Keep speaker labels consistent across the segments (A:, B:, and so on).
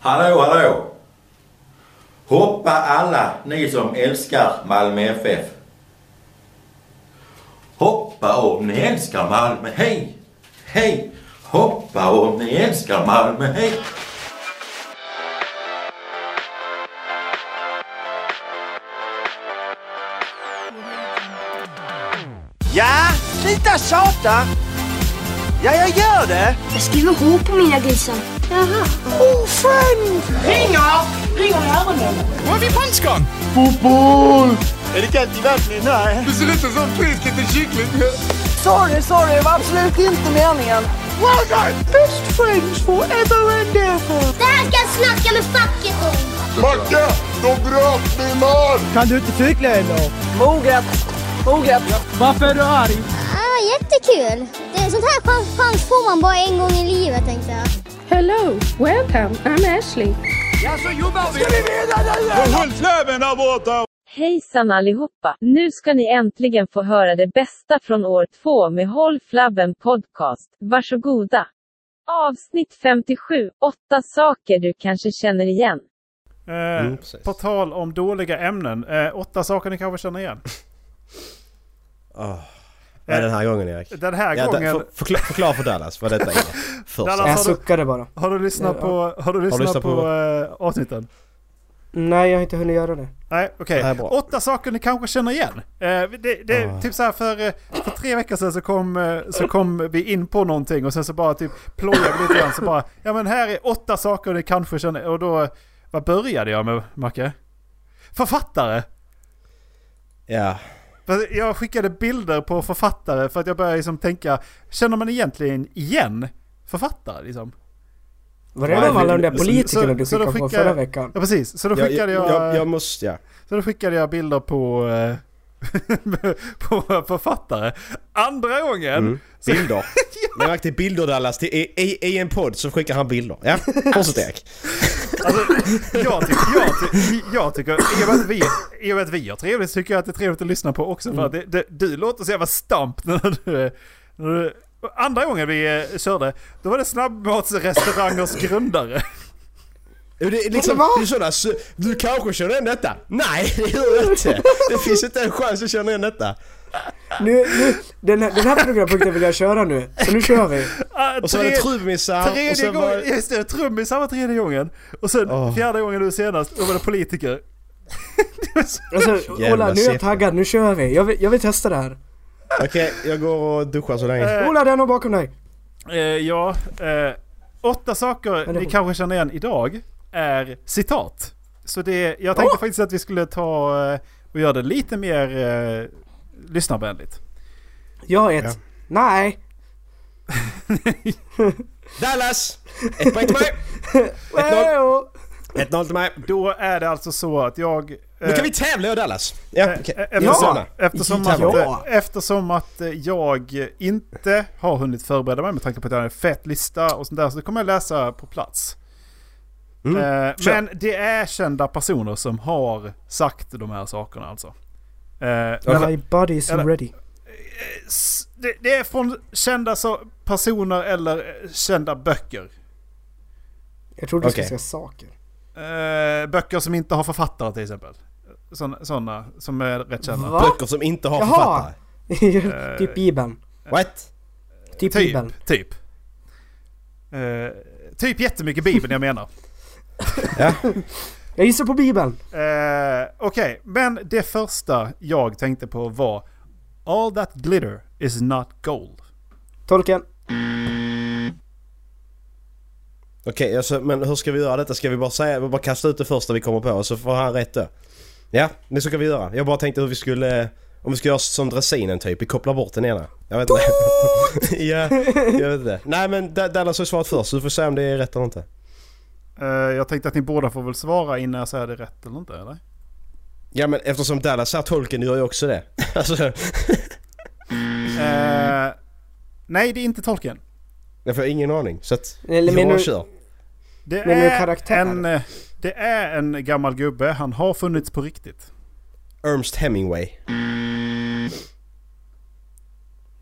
A: Hallå, hallå! Hoppa alla ni som älskar Malmö FF. Hoppa om ni älskar Malmö, hej! Hej! Hoppa om ni älskar Malmö, hej!
B: Ja, sluta tjata! Ja, jag gör det!
C: Jag skriver H på mina grisar. Jaha.
B: Ofriend!
D: Ringer! Ringer i öronen.
E: Var är vi punchgång?
B: Fotboll! Är det kallt i vattnet? Nej.
E: Du ser ut som en frisk liten kyckling.
B: Sorry, sorry. Det var absolut inte meningen. Well done! Best friends forever and ever.
F: Det här ska jag snacka med facket om.
E: Macke, de bröt min man!
G: Kan du inte cykla eller?
B: Moget. Moget.
G: Varför är du arg?
F: Ah, jättekul. Det, sånt här chans, chans får man bara en gång i livet, tänkte jag.
H: Hello, welcome, I'm Ashley.
B: Ja, så jobbar vi. Ska vi vinna nu?
I: Hejsan allihopa! Nu ska ni äntligen få höra det bästa från år två med Håll Flabben Podcast. Varsågoda! Avsnitt 57, åtta saker du kanske känner igen.
J: Eh,
K: Mm,
J: på tal om dåliga ämnen. Eh, åtta saker ni kanske känner igen.
K: Ah.
J: Eh,
K: Nej, den här gången Erik.
J: Den här
K: Ja,
J: gången...
K: da, för, förklara, förklara för Dallas vad detta är. Först.
J: Dallas,
G: Jag
J: har, du,
G: suckade bara.
J: har du lyssnat
G: Ja.
J: på, har du lyssnat
K: lyssnat
J: på,
K: på-
J: eh, avsnitten?
G: Nej, jag har inte hunnit göra det.
J: Nej, okej.
K: Det här är bra. Ah.
J: Åtta saker ni kanske känner igen. Eh, det, det, är Typ så här för, eh, för tre veckor sedan så kom, eh, så kom vi in på någonting och sen så bara typ plojade vi lite grann. Så bara, ja men här är åtta saker ni kanske känner. Och då, eh, vad började jag med Macke? Författare!
K: Ja.
J: För Jag skickade bilder på författare för att jag började liksom tänka, känner man egentligen igen författare liksom?
G: Var det
K: Nej,
G: de alla de där
K: så-
G: politikerna du
J: så då
G: skickade på
J: skickar-
G: förra veckan?
J: Ja precis, så då
K: Jag,
J: skickade
K: jag,
J: jag,
K: jag, jag måste, ja.
J: Så då skickade jag bilder på, eh, på författare. Andra gången!
K: Mm. Bilder. Jag märkte bilder Dallas. Till, i, i, I en podd så skickar han bilder. Ja, fortsätt Erik.
J: Alltså, jag, tycker, jag, ty- jag tycker, i och med att vi, i och med att vi har trevligt så tycker jag att det är trevligt att lyssna på också. För att det,
K: Mm.
J: det, du låter så jävla stamp när du, är- när du... Andra gången vi eh, körde, då var det snabbmatsrestaurangers grundare.
K: Det är liksom, det är sådana, så- du kanske känner igen detta? Nej, det gör jag inte. Det finns inte en chans jag känner igen detta.
G: Nu, nu, den här, den här programpunkten vill jag köra nu. Så nu kör vi.
J: Ah,
K: Och så var det
J: tre-
K: trummisar och
J: Tredje
K: sen
J: gången,
K: var
J: just det, trummisar var tredje gången. Och sen
K: Åh.
J: fjärde gången nu senast, då var det politiker.
G: Alltså,
K: Jävla
G: Ola, nu är jag
K: siffra.
G: taggad. Nu kör vi. Jag vill, jag vill testa det här.
K: Okej, jag går och duschar så länge.
J: Eh.
G: Ola, det är någon bakom dig.
J: Eh, ja, eh, åtta saker
G: det-
J: ni kanske känner igen idag är citat. Så det, jag tänkte faktiskt att vi skulle ta eh, och göra det lite mer eh, lyssnarvänligt.
G: Jag har ett.
K: Ja.
G: Nej.
K: Dallas! Ett poäng till mig! Ett noll.
G: Wow.
K: Ett noll till mig.
J: Då är det alltså så att jag... eh,
K: Nu kan vi tävla jag Dallas! Ja, okej.
J: eh, Eftersom,
K: Ja.
J: eftersom, att,
G: Ja.
J: eh, eftersom att eh, jag inte har hunnit förbereda mig med tanke på att jag har en fet lista och sånt där så det kommer jag läsa på plats. Eh,
K: Mm. Kör.
J: men det är kända personer som har sagt de här sakerna alltså. Eh,
G: My body is
J: Eller-
G: ready.
J: S- det, det är från kända så, personer eller eh, kända böcker.
G: Jag trodde du skulle
K: Okej.
G: säga saker.
J: Eh, böcker som inte har författare till exempel. Sådana som är rätt kända.
G: Va?
K: Böcker som inte har
G: Jaha.
K: författare.
G: typ Bibeln.
K: What?
G: Typ, Bibeln.
J: Typ. Typ. Eh, typ jättemycket Bibeln jag menar.
G: Jag gissar på Bibeln.
J: Eh, Okej, men det första jag tänkte på var All that glitter is not gold.
G: Tolken.
K: Okej, alltså, men hur ska vi göra detta? Ska vi bara säga, vi bara kasta ut det första vi kommer på och så får han rätt då? Ja, men så kan vi göra. Jag bara tänkte hur vi skulle, om vi ska göra som dressinen typ, vi kopplar bort den ena. Jag vet inte. ja, jag vet inte. Nej men Da- Dallas har svarat först, så du får säga om det är rätt eller inte.
J: Eh, jag tänkte att ni båda får väl svara innan jag säger det rätt eller inte eller?
K: Ja men eftersom Dallas säger tolken gör jag också det. alltså,
J: Eh, nej, det är inte tolken.
K: jag får ingen aning. Så att,
G: Eller
K: jag
G: menar du-
K: kör.
J: Det
G: Men med
J: är,
G: karaktär?
J: En, eh, det är en gammal gubbe, han har funnits på riktigt.
K: Ernst Hemingway.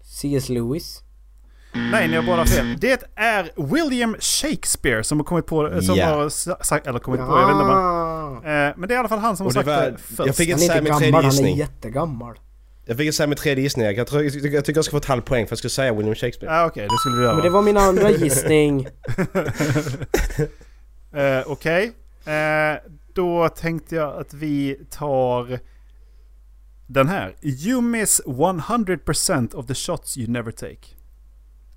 G: C.S. Lewis.
J: Nej, ni har båda fel. Det är William Shakespeare som har kommit på... eh, Som
K: Ja.
J: har sa- sagt, eller kommit på, jag vet inte om han-
G: Ah.
J: eh, Men det är i alla fall han som har
K: Och det
J: sagt
K: var-
J: det först.
K: jag fick en
G: Han är
K: säga
G: inte
K: min tredje
G: gammal, han är
K: gissning.
G: jättegammal.
K: Jag fick säga min tredje gissning. Jag, tror, jag, tycker- jag tycker jag ska få ett halvt poäng för jag skulle säga William Shakespeare.
J: Ja, Ah, okej, det skulle du göra.
G: Men det var min andra gissning.
J: Eh, Okej. Eh, då tänkte jag att vi tar den här. You miss 100% of the shots you never take.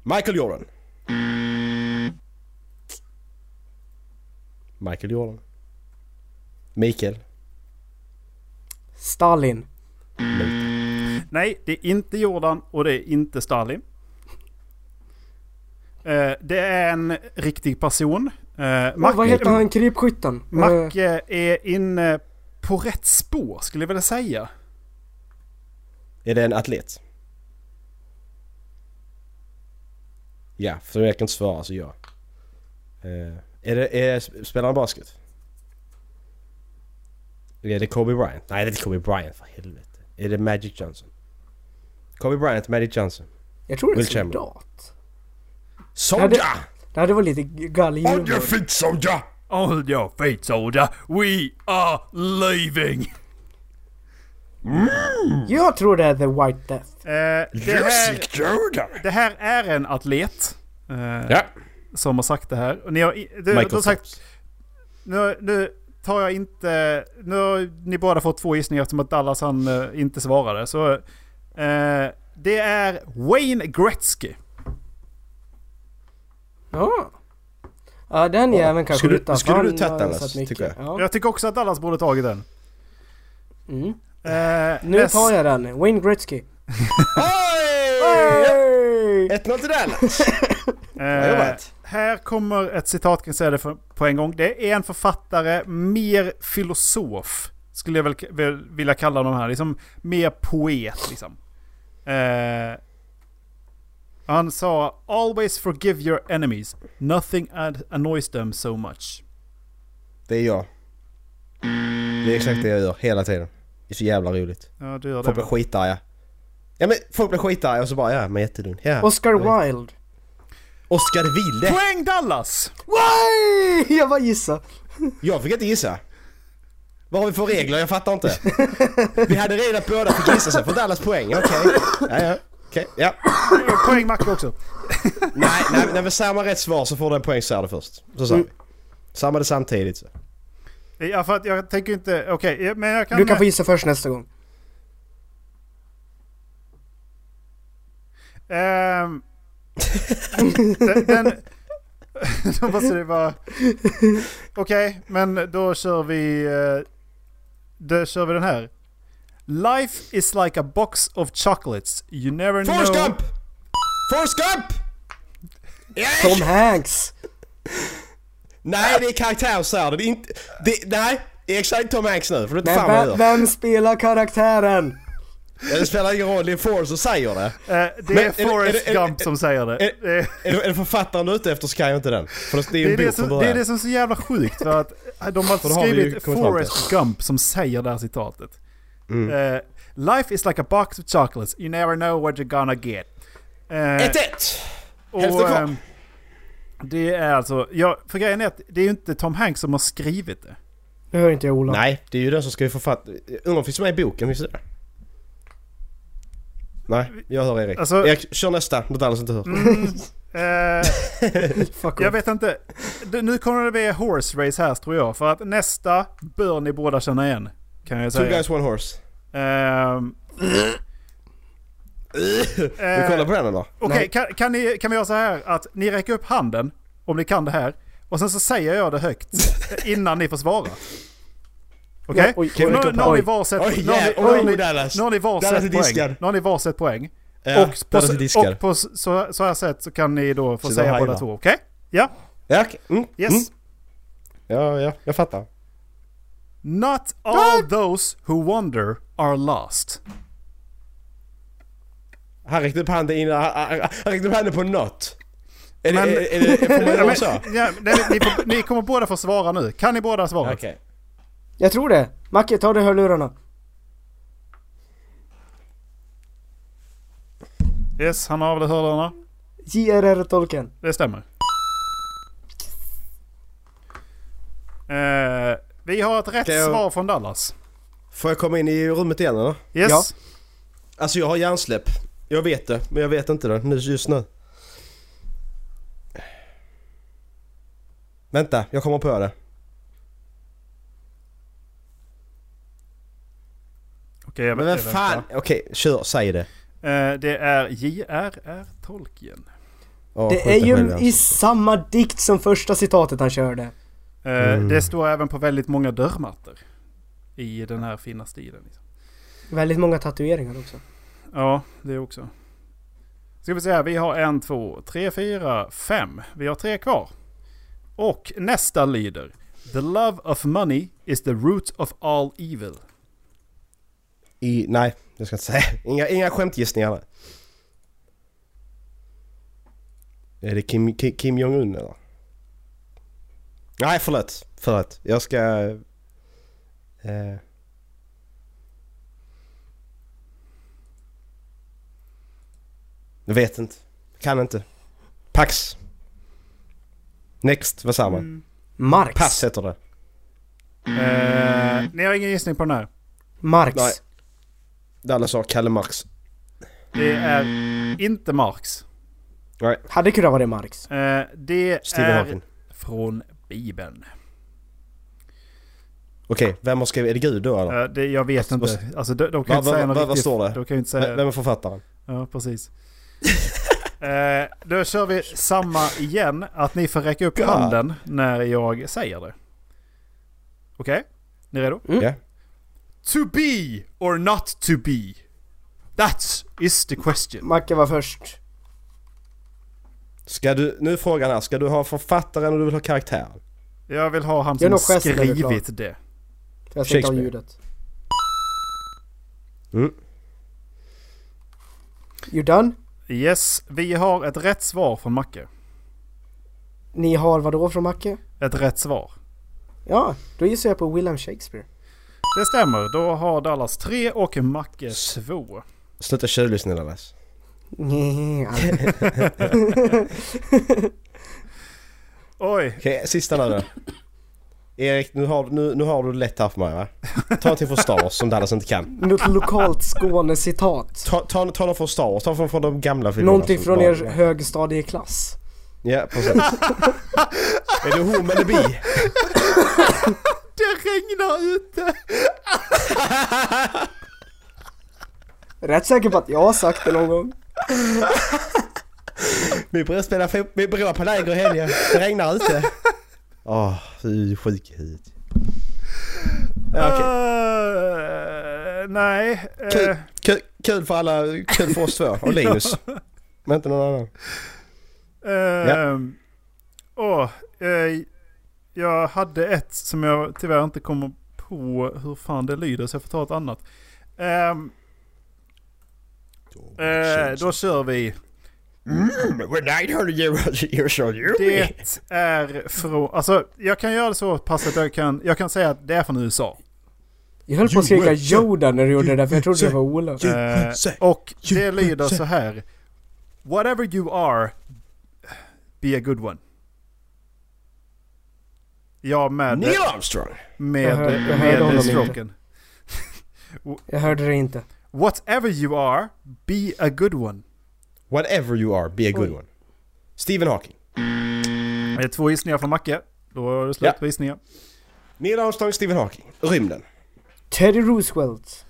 K: Michael Jordan. Michael Jordan. Mikael.
G: Stalin.
J: Nej, det är inte Jordan och det är inte Stalin. Eh, det är en riktig person. Eh,
G: Mac- vad heter
J: Mac-
G: han, krypskytten? Eh,
J: Macke är inne på rätt spår skulle jag vilja säga.
K: Är det en atlet? Ja, för jag kan inte svara så ja. Eh, är det, är, spelar han basket? Är det Kobe Bryant? Nej det är inte Kobe Bryant för helvete. Är det Magic Johnson? Kobe Bryant, Magic Johnson.
G: jag tror det är
K: Will Chamberlain.
G: soldat.
K: Soja!
G: det- Det här det var lite galghumor.
K: feet soja!
J: Hold your feet soldier, we are leaving!
G: Jag tror det är The White Death.
J: Eh, det, här, det här är en atlet. eh,
K: Ja!
J: Som har sagt det här. Och ni har, i- du, du har
K: Michael
J: sagt,
K: Phelps.
J: nu, nu tar jag inte... Nu har ni båda fått två gissningar eftersom att Dallas han eh, inte svarade. Så eh, det är Wayne Gretzky.
G: Ja. Ja den jäveln kanske
K: Skulle-
G: utanför.
K: skulle du
G: Han
K: tagit
G: har
K: den, alltså,
G: satt mycket.
K: tycker jag?
G: Ja.
J: Jag tycker också att Dallas borde tagit den.
G: Mm.
J: Eh,
G: Nu
J: näst-
G: tar jag den. Wayne Gretzky.
K: Oj! 1-0 till Dallas!
J: Eh,
K: jobbat.
J: här kommer ett citat, kan jag säga det för, på en gång. Det är en författare, mer filosof, skulle jag väl, väl vilja kalla de här. Liksom, mer poet, liksom. Eh, han sa “Always forgive your enemies. Nothing ad- annoys them so much”.
K: Det är jag. Det är exakt det jag gör hela tiden. Det är så jävla roligt.
J: Ja, du gör
K: Folk blir
J: det.
K: skitarga. Ja men folk blir skitarga och så bara ja, men jättedum. Ja.
G: Oscar Wilde.
K: Oscar Wilde!
J: Poäng Dallas!
G: Why? Jag bara gissar.
K: Jag fick inte gissa. Vad har vi för regler? Jag fattar inte. Vi hade redan att båda fick gissa sig för Dallas poäng. Okej. Ja, ja. Okej, ja.
J: Poäng Macke också.
K: Nej, nej, nej, men samma rätt svar så får du en poäng så är det först. Så sa vi. Samma det samtidigt. Så.
J: Ja, för att jag tänker inte... Okej, eh, men jag kan...
G: Du kan få gissa först nästa gång.
J: Ehm. den... den då måste det vara... Okej, men då kör vi... eh, Då kör vi den här. Life is like a box of chocolates. You never
K: Forrest
J: know...
K: Gump! Forrest Gump!
G: Tom Hanks.
K: Nej, det är karaktär så här. Det är inte... Det, nej, det är exakt Tom Hanks nu. För det är inte
G: Men
K: fan vad jag
G: vem,
K: gör.
G: vem spelar karaktären?
K: Ja, Det spelar ingen roll, det är Forrest som säger det.
J: Eh, det
K: Men
J: är
K: är det- är
J: Forrest
K: det- är det-
J: Gump som säger det.
K: är
J: Det är-
K: Är det, är det författaren du är ute efter så kan jag inte den. För det är
J: Det
K: ju
J: är
K: en
J: det,
K: bok från
J: som, det är
K: början.
J: det som är så jävla sjukt för att eh, de har
K: då har vi ju
J: skrivit
K: kommit fram till.
J: Forrest Gump som säger det här citatet.
K: Mm.
J: Eh, Life is like a box of chocolates, you never know what you're gonna get. Eh,
K: 1-1!
J: Och,
K: Hälften kvar.
J: ehm, Det är alltså, ja, för grejen är att det är ju inte Tom Hanks som har skrivit det.
G: Nu hör inte jag Ola.
K: Nej, det är ju den som ska författa... Undrar om det finns med i boken, visst är det? Nej, jag hör Erik.
J: Alltså- Mm.
K: Erik, kör nästa. Något annat som inte hör.
J: Eh,
G: Fuck
J: jag
G: off.
J: vet inte, Det- nu kommer det bli horse race här tror jag, för att nästa bör ni båda känna igen. Kan jag
K: Two
J: säga.
K: guys, one horse.
J: Ehm,
K: Vi kollar på den eller?
J: Okej, kan, kan, ni, kan vi göra så här att ni räcker upp handen om ni kan det här. Och sen så säger jag det högt eh, innan ni får svara. Okej?
G: oj,
J: Nu
G: oj,
J: nu
G: oj,
J: har ni
G: oj.
J: varsitt
K: Oj,
J: nu har ni-
K: jävlar.
J: nu har
K: Oj,
J: ni-
K: Dallas.
J: nu har ni
K: Dallas är
J: varsitt
K: diskad.
J: poäng. Nu har ni varsitt poäng.
K: Ja,
J: och på,
K: Dallas är
J: så,
K: diskad.
J: och på så, så, här sätt så kan ni då få
K: Så det
J: säga
K: här
J: båda
K: va?
J: två. Okej? Ja?
K: Ja, okej. Mm.
J: Yes.
K: Mm. Ja, ja, jag fattar.
J: Not all those who wander are lost.
K: Han räckte upp handen innan... Han, han, han räckte upp handen på något. Är det...
J: Men-
K: Är, är, det- får man
J: Ja,
K: göra
J: men,
K: så? Okej.
J: ja, nej, ni, får- ni kommer båda få svara nu. Kan ni båda svara?
G: Jag tror det. Macke, ta dig hörlurarna.
J: Yes, han har väl hörlurarna.
G: J.R.R. Tolkien.
J: Det stämmer. Eh, vi har ett rätt
K: Ska jag-
J: svar från Dallas.
K: Får jag komma in i rummet igen eller?
J: Yes. Ja.
K: Alltså jag har hjärnsläpp. Jag vet det, men jag vet inte det nu, just nu. Vänta, jag kommer på det.
J: Okej, jag
K: Men vem
J: vet
K: fan! Okej, kör, säg det.
J: Eh, det är J.R.R. Tolkien.
K: Ja, skjut
G: Det är
K: själv,
G: ju
K: alltså.
G: i samma dikt som första citatet han körde.
J: Eh,
K: Mm.
J: Det står även på väldigt många dörrmattor. I den här fina stilen. Liksom.
G: Väldigt många tatueringar också.
J: Ja, det också. Ska vi se här, vi har en, två, tre, fyra, fem. Vi har tre kvar. Och nästa lyder. The love of money is the root of all evil.
K: I, nej, jag ska inte säga. Inga, inga skämtgissningar där. Är det Kim, Ki- Kim Jong-Un eller? Nej, förlåt. Förlåt. Jag ska... Eh, jag vet inte. Kan inte. Pax. Next, vad säger man?
G: Marx.
K: Pass heter det.
J: Eh, ni har ingen gissning på den här?
G: Marx.
K: Nej. Dallas sa Kalle Marx.
J: Det är inte Marx.
K: Nej,
G: Hade kunnat vara det Marx.
J: Eh, det
K: Stephen
J: är
K: Hawking.
J: från Bibeln.
K: Okej, vem har skrivit? Är det Gud då eller?
J: Eh, det, jag vet inte. Alltså, de, de kan
K: Vad
J: inte säga
K: va,
J: något
K: va, vad
J: riktigt.
K: står det?
J: De kan ju inte
K: V-
J: säga...
K: Vem är författaren?
J: Ja, precis. eh, då kör vi samma igen. Att ni får räcka upp
K: God.
J: handen när jag säger det. Okej? Ni redo?
K: Ja.
J: To be or not to be. That is the question.
G: Macke var först.
K: Ska du, nu är frågan här, ska du ha författaren och du vill ha karaktären?
J: Jag vill ha han
G: Gör
J: som
G: någon gest när du är
J: skrivit det.
G: Jag ska inte ha
K: Shakespeare.
G: ljudet.
K: Mm.
G: You done?
J: Yes, vi har ett rätt svar från Macke.
G: Ni har vadå från Macke?
J: Ett rätt svar.
G: Ja, då gissar jag på William Shakespeare.
J: Det stämmer. Då har Dallas 3 och Macke 2.
K: Sluta tjuvlyssna Dallas.
G: Nej,
J: Oj,
K: Okej, sista nu då. Erik, nu har, nu, nu har du det lätt här för mig va? Ta någonting från Star Wars som Dallas inte kan.
G: Något lokalt Skåne-citat.
K: Ta, ta, ta något från Star Wars, ta något från de gamla filmerna.
G: Någonting
K: som
G: från
K: bara-
G: er högstadieklass.
K: Ja, precis. är det hon eller bi?
J: det regnar ute!
G: Rätt säker på att jag har sagt det någon gång.
K: Min bror spelar fot- min bror är på läger i helgen. Det regnar ute. Åh, du är sjuk i huvudet. Ja, okej.
J: Eh, nej. eh,
K: Kul, kul, kul för alla, kul för oss två och Linus. Men inte någon annan.
J: Ehm, Åh, eh, jag hade ett som jag tyvärr inte kommer på hur fan det lyder så jag får ta ett annat. Ehm, eh, då kör vi. Det är från... Alltså jag kan göra det så pass att jag kan, jag kan säga att det är från USA.
G: Jag höll på att skrika Yoda när du gjorde det där för jag trodde det var Ola.
J: Eh, och det lyder så här. Whatever you are, be a good one. Ja, med,
K: Neil Armstrong!
G: Jag
J: med,
G: hör- jag
J: med,
G: hörde honom inte.
J: stroken.
G: Jag hörde det inte.
J: Whatever you are, be a good one.
K: Whatever you are, be a good one. Stephen Hawking.
J: Det är två gissningar från Macke. Då är det slut
K: Ja.
J: på gissningar.
K: Neil Armstrong, Stephen Hawking. Rymden.
G: Teddy Roosevelt.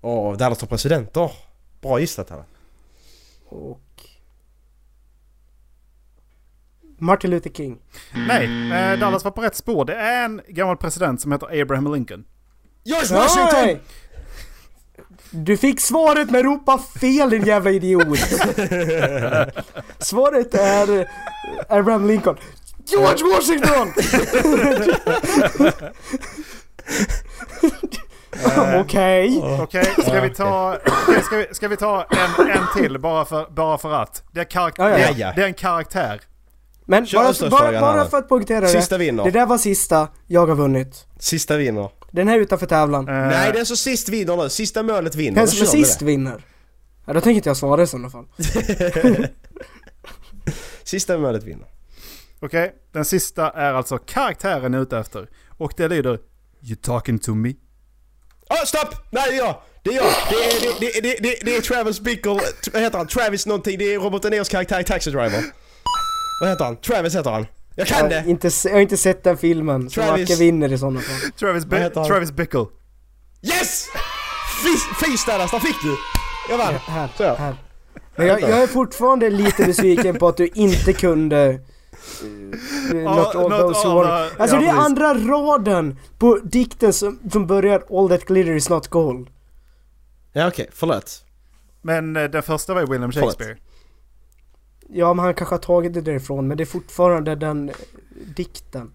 K: Åh, Dallas tar presidenter. Bra gissat här.
G: Och... Martin Luther King.
J: Nej, eh, Dallas var på rätt spår. Det är en gammal president som heter Abraham Lincoln.
K: George
G: Nej! Du fick svaret men ropa fel din jävla idiot! svaret är eh, Abraham Lincoln. George Washington!
K: Eh,
G: Okej.
J: Okej, ska vi ta, okej, ska vi, ska vi ta en, en till bara för, bara för att? Det är, karak-
G: Ja, ja.
J: det,
K: Ja, ja.
J: är, det är en karaktär.
G: Men
K: Kör
G: bara, bara,
K: öststatsfrågan,
G: bara
K: Hanna.
G: för att poängtera
K: Sista
G: det.
K: vinner.
G: Det där var sista, jag har vunnit.
K: Sista vinner.
G: Den här är utanför tävlan.
J: Eh,
K: Nej, den som sist vinner nu. Sista målet vinner.
G: Den
K: Då
G: som är
K: kör vi
G: sist
K: det.
G: vinner.
L: Ja, då tänker inte jag svara i sådana fall.
K: Sista mötet vinner.
J: Okej, den sista är alltså karaktären är ute efter. Och det lyder You talking to me?
K: Ah, stopp! Nej, det är jag! Det är jag! Det är, det, det, det, det, det är Travis Bickle, t- vad heter han? Travis någonting, det är Robert De Niros karaktär i Taxi Driver. Vad heter han? Travis heter han. Jag kan
L: Jag,
K: det!
L: har inte, se- jag har inte sett den filmen, så
K: Travis.
L: Macke vinner i sådana fall.
J: Travis,
K: Vad
J: Bi-
K: heter han?
J: Travis Bickle.
K: Yes! Fis- Fisdadas, där fick du! Jag vann!
L: Här,
K: Så ja.
L: här. Men jag, jag är fortfarande lite besviken på att du inte kunde... Uh,
J: Ja,
L: not all
J: not
L: those who
J: all
L: are...
J: the-
L: Alltså
J: ja,
L: det är
J: precis.
L: andra raden på dikten som, som börjar All that glitter is not gold.
K: Ja okej, förlåt.
J: Men eh, den första var ju William
K: Förlåt.
J: Shakespeare.
L: Ja men han kanske har tagit det därifrån men det är fortfarande den eh, dikten.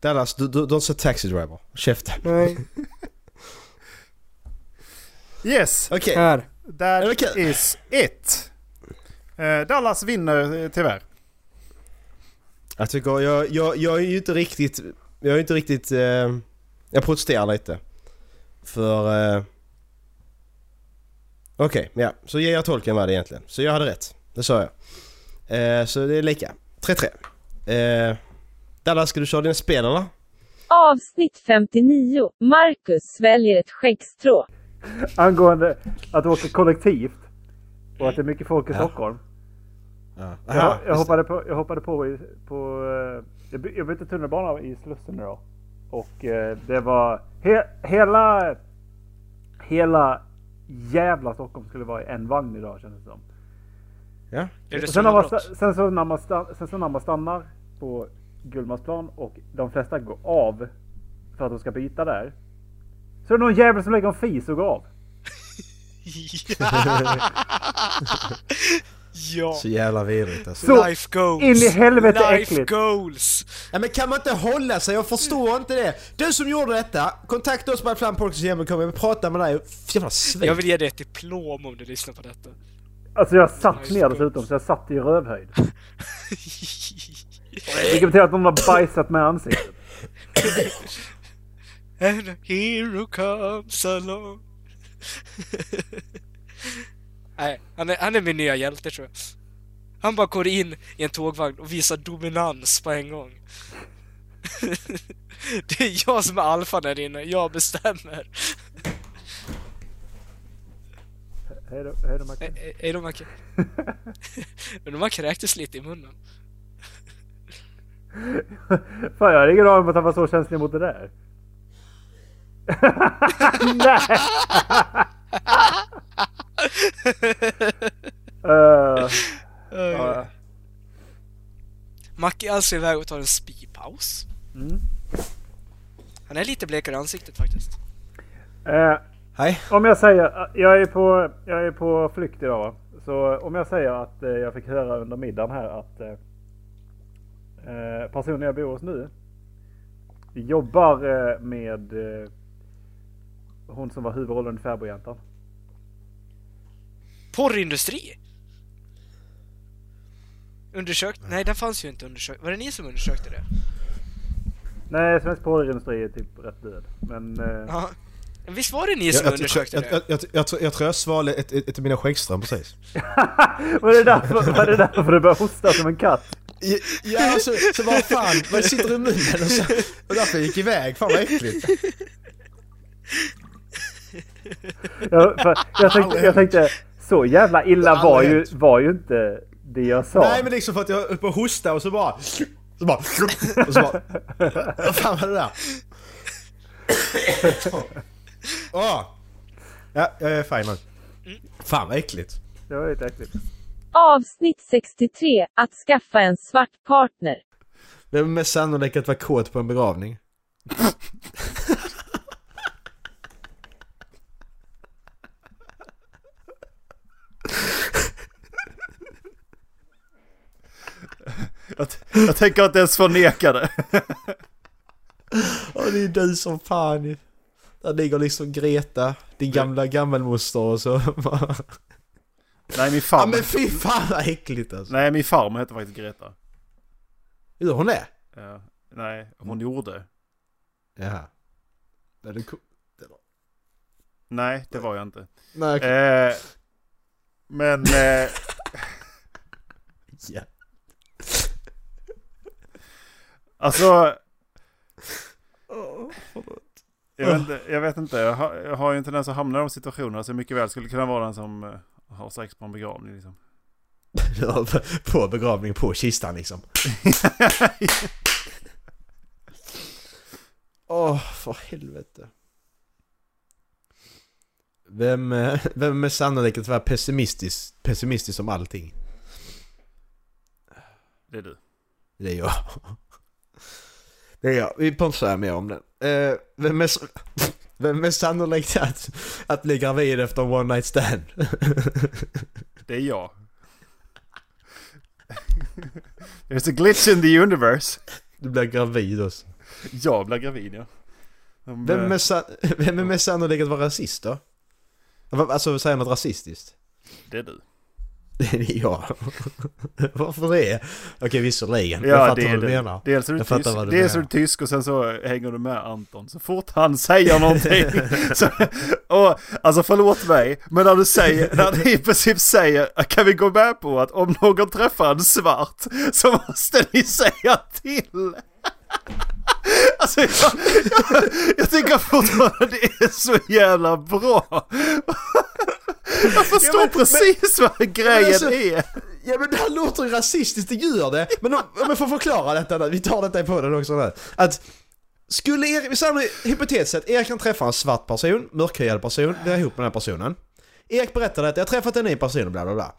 K: Dallas, du, du, du har inte sett Taxi Driver? Käften.
L: Nej,
J: Yes,
K: Okej,
L: här.
J: that
K: Är det okej?
J: is it. Eh, Dallas vinner eh, tyvärr.
K: jag tycker, jag, jag, jag är ju inte riktigt, jag är inte riktigt, eh, jag protesterar lite. För... Eh, Okej, ja. Så ger jag tolken vad det egentligen. Så jag hade rätt. Det sa jag. Eh, så det är lika. 3-3. Eh, Dallas, ska du köra dina spel eller?
I: Avsnitt 59. Marcus sväljer ett skäggstrå.
J: Angående att åka kollektivt och att det är mycket folk i Stockholm.
K: Ja.
J: Jag, jag, hoppade på, jag hoppade på, i- på eh, jag, by, jag bytte tunnelbana i Slussen idag. Och eh, det var he, hela, hela jävla Stockholm skulle vara i en vagn idag kändes det som.
K: Ja.
G: Är det
J: Och sen, när man,
G: sammanbrott?
J: sta- sen, så när man sta- sen så när man stannar på Gullmarsplan och de flesta går av för att de ska byta där. Så är det någon jävel som lägger en fis och går av.
G: ja.
K: Så jävla vidrigt alltså.
J: Så
G: Life goals.
J: in i helvete
G: Life
J: äckligt.
G: goals.
K: Ja, men kan man inte hålla sig? Jag förstår inte det. Du som gjorde detta, kontakta oss på flampodcastgmail.com. Jag vill prata med dig. Jävla svin.
G: Jag vill ge dig ett diplom om du lyssnar på detta.
J: Alltså jag satt ner dessutom så jag satt i rövhöjd. Vilket betyder att någon har bajsat med ansiktet.
G: And a hero comes along. Nej, han är, han är min nya hjälte tror jag. Han bara går in i en tågvagn och visar dominans på en gång. Det är jag som är alfa där inne, jag bestämmer.
J: Hej då, hej då Macke.
G: Ä- ä- Är de Macke? Men de har kräktes lite i munnen.
J: Fan jag hade ingen aning om att han var så känslig mot det där. Nej! Eh, ja.
G: Macke är alltså iväg och tar en spypaus.
J: Mm.
G: Han är lite blekare i ansiktet faktiskt.
J: Eh,
K: Hej.
J: Om jag säger, jag är på, jag är på flykt idag va? Så om jag säger att eh, jag fick höra under middagen här att eh, eh, personen jag bor hos nu jobbar eh, med eh, hon som var huvudrollen i Fäbodjäntan.
G: Porrindustri? Undersökt? Nej, den fanns ju inte undersökt. Var det ni som undersökte det?
J: Nej, svensk porrindustri är typ rätt död. Men eh,
G: Ja. Men Visst var det ni
K: Jag,
G: som
K: jag,
G: undersökte
K: jag,
G: det?
K: jag, jag, jag, tror- jag tror jag svalde ett, ett, ett av mina skäggstrån precis.
J: var, det därför, var det därför du började hosta som en katt?
K: Ja, så, så vad fan, vad sitter i munnen och så... Och därför jag gick iväg, fan vad äckligt.
J: Jag, för, jag, tänkte, jag tänkte, så jävla illa var ju, var ju inte det jag sa.
K: Nej men liksom för att jag höll på att hosta och så bara... Så bara... Och så bara... Vad fan var det där? Åh! Ja, jag är fine nu. Fan vad äckligt.
J: Det var lite äckligt.
I: Avsnitt 63. Att skaffa en svart partner.
K: Det är mest sannolikt att vara kåt på en begravning.
J: Jag, jag tänker inte ens förneka det.
K: Ja det är du som fan ju. Där ligger liksom Greta, din gamla gammelmoster och så bara...
J: Nej, min
K: Ja
J: farmor.
K: men fy fan vad äckligt alltså.
J: Nej, min farmor heter faktiskt Greta.
K: Gör hon det?
J: Ja. Nej, hon gjorde.
K: Jaha. Nej, det är ko-
J: Nej, det var jag inte.
K: Nej, okej.
J: Eh,
B: Men... Eh,
K: Ja.
B: alltså... Jag vet, inte- jag vet inte, jag har, jag har ju en tendens att hamna i de situationerna så jag mycket väl skulle kunna vara den som eh, har sex på en begravning liksom.
K: på begravning på kistan liksom. Åh, för helvete. Vem, eh, vem är sannolikt att vara pessimistisk, pessimistisk om allting?
B: Det är du.
K: Det är jag. Det är jag. Vi behöver inte säga mer om den. Eh, vem, är, s- vem är sannolikt att, att bli gravid efter en one night stand?
B: Det är jag. There's a glitch in the universe.
K: Du blir gravid också.
B: Jag blir gravid ja. De,
K: Vem
B: eh,
K: är, sa- vem är mest sannolik att vara rasist då? Va- Alltså säga något rasistiskt?
B: Det är du.
K: Det är jag. Varför det? Okej visserligen,
B: Ja,
K: jag fattar
B: det är
K: vad du
B: det.
K: menar.
B: Dels är du,
K: jag
B: tysk,
K: fattar vad du
B: dels är du
K: menar.
B: tysk och sen så hänger du med Anton. Så fort han säger någonting. så, och, alltså förlåt mig, men när du säger, när du i princip säger kan vi gå med på att om någon träffar en svart så måste ni säga till. Alltså jag, jag, jag tycker fortfarande det är så jävla bra. Jag förstår precis vad grejen
K: Men alltså-
B: är.
K: Ja men det här låter ju rasistiskt, det gör det! Men om, om jag får förklara detta nu, vi tar detta i podden också nu. Att skulle Erik, vi säger nu, hypotetiskt sett, Erik kan träffa en svart person, mörkhyad person, blir ihop med den här personen. Erik berättar att jag har träffat en ny person och bla bla bla.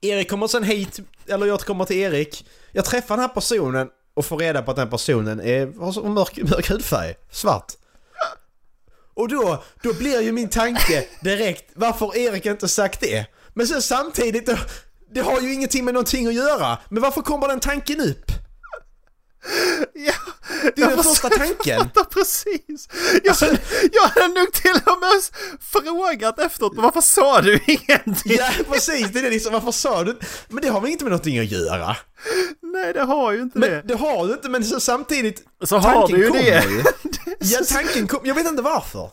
K: Erik kommer sen hit, eller jag kommer till Erik. Jag träffar den här personen och får reda på att den här personen är, har så mörk, mörk hudfärg, svart. Och då, då blir ju min tanke direkt, varför Erik inte sagt det? Men sen samtidigt, det- det har ju ingenting med någonting att göra. Men varför kommer den tanken upp? Det är
B: Jag
K: den första
B: förstår-
K: tanken.
B: fattar precis. Jag, jag hade nog till och med frågat efteråt, varför sa du ingenting?
K: Ja, precis. Det är liksom, varför sa du Men det har väl inte med någonting att göra?
B: Nej, det har ju inte det.
K: Men det har du inte, men så samtidigt...
B: Så har
K: tanken
B: du ju
K: kommer
B: det.
K: ju. Ja, tanken kom. Jag vet inte varför.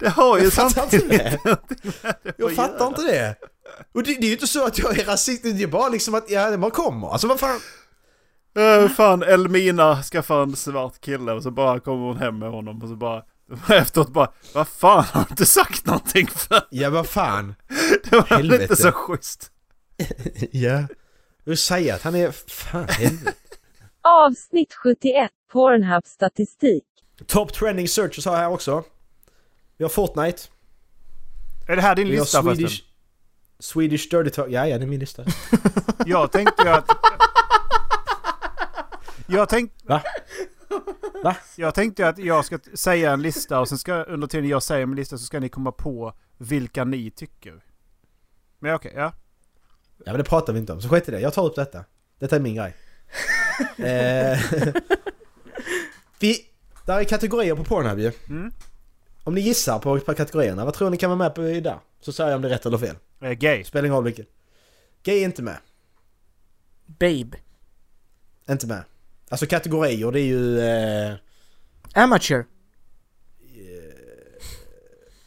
B: Det har ju
K: Jag fattar inte
B: samtidigt
K: det.
B: någonting med det att
K: Jag fattar
B: göra.
K: inte det. Och det, det är ju inte så att jag är rasist, det är bara liksom att, ja, det bara kommer. Alltså vad fan.
B: Eh, fan, Elmina skaffar en svart kille och så bara kommer hon hem med honom och så bara efteråt bara, vad fan har du inte sagt någonting för?
K: Ja, vad fan.
B: Det var väl inte
K: Helvete.
B: så schysst.
K: Ja. Du säger att han är... Fan helvete.
I: Avsnitt 71, Pornhub statistik.
K: Top trending searches har jag här också. Vi har Fortnite.
B: Är det här din
K: vi har
B: lista
K: Swedish, Swedish Dirty Talk. Ja, ja, det är min lista.
B: Jag tänkte ju att... Jag tänkte...
K: Va? Va?
B: Jag tänkte ju att jag ska t- säga en lista och sen ska under tiden jag säger min lista så ska ni komma på vilka ni tycker. Men okej, ja.
K: Ja, men det pratar vi inte om. Så skit i det. Jag tar upp detta. Detta är min grej. eh, vi... Där är kategorier på Pornhub ju.
B: Mm.
K: Om ni gissar på, på kategorierna, vad tror ni kan vara med på i där? Så säger jag om det är rätt eller fel.
B: Eh, gay.
K: Spelar ingen roll vilken. Gay är inte med.
G: Babe.
K: Inte med. Alltså kategorier, det är ju... Eh,
G: Amateur.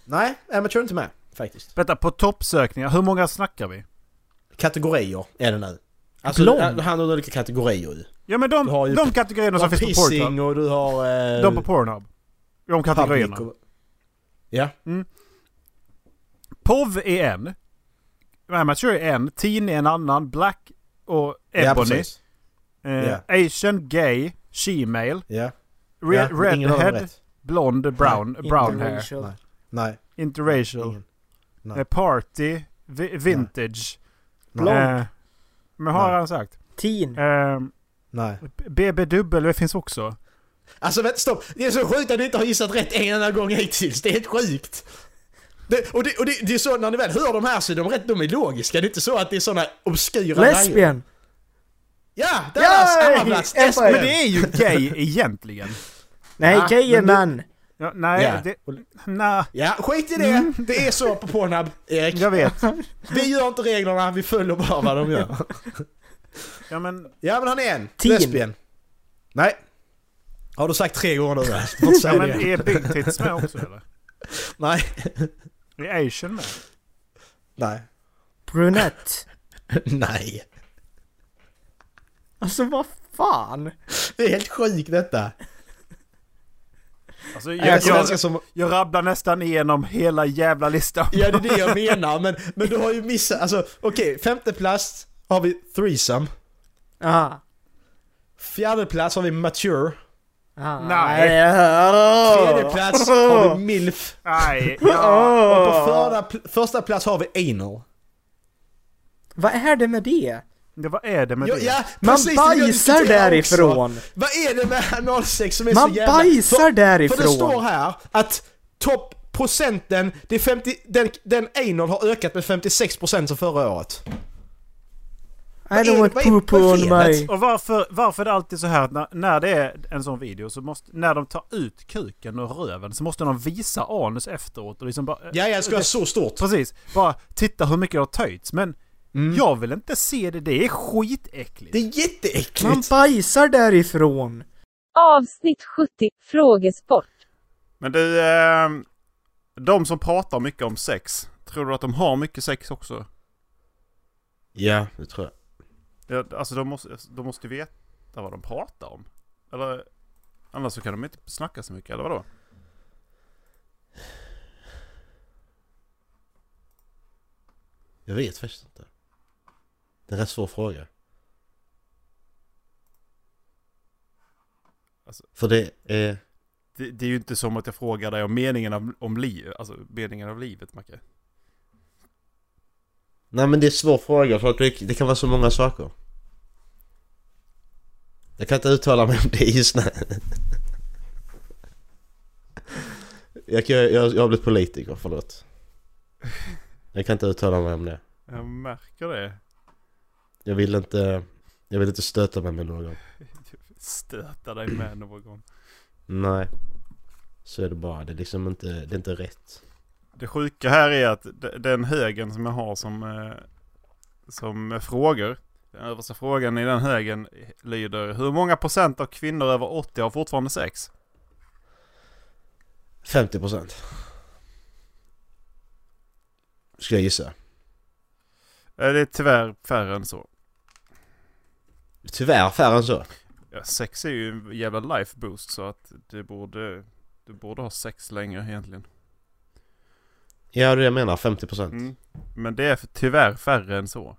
K: nej, amateur är inte med faktiskt.
B: Vänta, på toppsökningar, hur många snackar vi?
K: kategorier är det nu. Alltså
B: Lång.
K: det handlar om olika kategorier ju.
B: Ja men de,
K: Du har ju
B: de kategorierna som
K: du har
B: finns på Pornhub.
K: pissing och du har... Eh,
B: De på Pornhub. De kategorierna.
K: public och- Ja.
B: POV är en. Amateur är en. Teen är en annan. Black och
K: Ja,
B: Ebony.
K: precis.
B: eh,
K: Ja.
B: Asian, gay, shemale.
K: Ja.
B: Re-
K: Ja, men ingen av dem är
B: redhead,
K: rätt.
B: blond, brown, brown hair.
G: Interracial.
K: Nej. Nej.
B: Interracial.
K: Ingen. Nej.
B: Eh, Party. Vi- vintage.
K: Nej.
B: Eh, men har
K: Nej.
B: han sagt.
G: Teen.
B: Eh,
K: Nej.
B: BBW finns också.
K: Alltså vänta, stopp. Det är så sjukt att ni inte har gissat rätt en enda gång hittills. Det är helt sjukt. Det, och det, och det, det är så när ni väl hör de här så är de rätt de är logiska. Det är inte så att det är såna obskyra grejer.
G: Lesbian.
K: Ja! Dallas!
G: Yay!
K: Andra plats!
G: Empire.
K: Espen.
B: Men det är ju gay egentligen.
G: Nej,
K: Ah,
G: gay är
K: men du-
G: man.
B: Ja, nej,
K: Ja.
B: det... Nej,
K: Ja, skit i det! Det är så på Pornhub, Erik.
B: jag vet.
K: Vi gör inte reglerna, vi följer bara vad de gör.
B: Ja men...
K: Ja men han är en.
G: Teen.
K: Lesbien. Nej. Har du sagt tre gånger nu va? Du får inte
B: Ja,
K: säga
B: men
K: det.
B: är Big Tits med också eller?
K: Nej.
B: Är Asian med?
K: Nej.
M: Brunett.
K: Nej.
M: Alltså vad fan?
K: Det är helt sjukt detta.
B: Alltså,
K: Jag är
B: jag,
K: svenska
B: jag,
K: som-
B: jag rabblar nästan igenom hela jävla listan.
K: Ja det är det jag menar, men, men du har ju missat, alltså okej, femte plats har vi threesome.
G: Ah,
M: Aha.
K: Fjärde plats har vi mature.
G: ah,
K: Tredje
M: Tredje
K: plats har vi milf.
B: Nej.
M: ja.
K: Och på förra, pl- första plats har vi anal.
M: Vad är det med det?
B: Ja, vad är det med
K: Ja,
B: det?
K: ja,
M: Man
K: precis, det vill jag
M: bajsar
K: diskutera
M: därifrån.
K: också. Vad är det med analsex som är
M: Man
K: så jävla...
M: bajsar
K: för, För det
M: därifrån.
K: står här att toppprocenten, det är 50, den, den anal har ökat med 56% som förra året.
M: I don't want poo poo on my...
B: Och varför, varför är det alltid så här att när, när det är en sån video så måste, när de tar ut kuken och röven så måste de visa anus efteråt och liksom bara...
K: Ja, ja, det ska vara så stort.
B: Precis. Bara titta hur mycket det har töjts men
K: Mm.
B: jag vill inte se det, det är skitäckligt. Det
K: är jätteäckligt!
M: Man bajsar därifrån.
I: Avsnitt 70, frågesport.
B: Men du, eh, de som pratar mycket om sex, tror du att de har mycket sex också?
K: Ja, det tror jag.
B: Ja, alltså de måste, de måste ju veta vad de pratar om. Eller annars så kan de inte snacka så mycket, eller vadå?
K: Jag vet faktiskt inte. Det är en rätt svår fråga. För det är...
B: Det, det är ju inte som att jag frågar dig om meningen av, om liv, alltså meningen av livet, Macke.
K: Nej men det är en svår fråga för att det, det kan vara så många saker. Jag kan inte uttala mig om det just nu. Jag, kan, jag, jag har blivit politiker, förlåt. Jag kan inte uttala mig om det.
B: Jag märker det.
K: Jag vill inte, jag vill inte stöta mig med någon.
B: Stöta dig med någon.
K: Nej. Så är det bara. Det är liksom inte, det är inte rätt.
B: Det sjuka här är att d- den högen som jag har som, eh, som eh, frågor, den översta frågan i den högen lyder Hur många procent av kvinnor över 80 har fortfarande sex?
K: 50% Ska jag gissa.
B: Eh, Det är tyvärr färre än så.
K: Tyvärr färre än så.
B: Ja, sex är ju en jävla life boost så att du borde, du borde ha sex längre egentligen.
K: Ja, det är det jag menar. 50%.
B: Mm. Men det är för- tyvärr färre än så.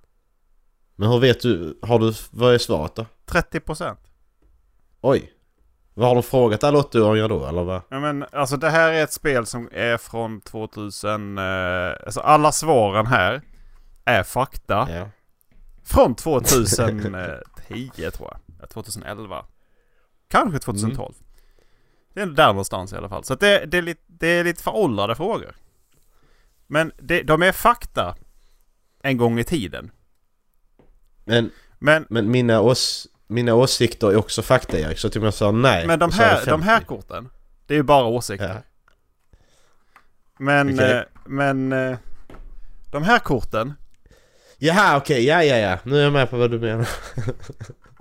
K: Men hur vet du? Har du... Vad är svaret då?
B: 30 procent.
K: Oj. Vad har de frågat alla 80-åringar då eller vad?
B: Ja, men alltså det här är ett spel som är från 2000. Eh, alltså alla svaren här är fakta. Från 2010 tror jag. Ja, 2011. Kanske 2012. Det är där någonstans i alla fall. Så att det, det, är, lite, det är lite föråldrade frågor. Men det, de är fakta. En gång i tiden.
K: Men...
B: Men,
K: mina, ås, mina åsikter är också fakta Erik. Så att om jag sa nej.
B: Men de
K: så är det
B: här, de
K: 50.
B: här korten, det är ju bara åsikter. Men,
K: Okej.
B: eh, men eh, de här korten,
K: Jaha okej, ja ja ja. Nu är jag med på vad du menar.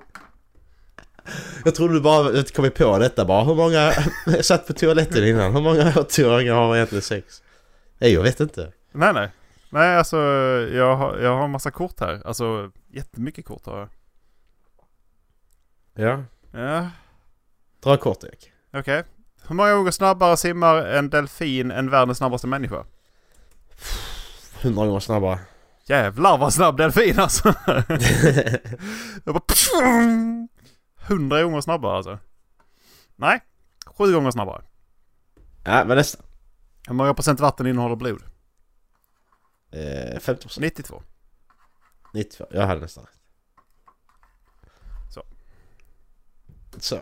K: jag trodde du bara jag kom på detta bara. Hur många... jag satt på toaletten innan. Hur många 80-åringar har egentligen sex? Nej jag vet inte.
B: nej nej. Nej alltså jag har, jag har en massa kort här. Alltså jättemycket kort har jag.
K: Ja.
B: Ja,
K: Dra kort Erik.
B: okej. Hur många gånger snabbare simmar en delfin än världens snabbaste människa?
K: 100 gånger snabbare.
B: Jävlar vad snabb delfin alltså! jag bara... Hundra gånger snabbare alltså. Nej, sju gånger snabbare.
K: Ja men nästan.
B: Hur många procent vatten innehåller blod?
K: Eh, 50 procent.
B: 92.
K: 92. Jag hade nästan rätt.
B: Så.
K: Så.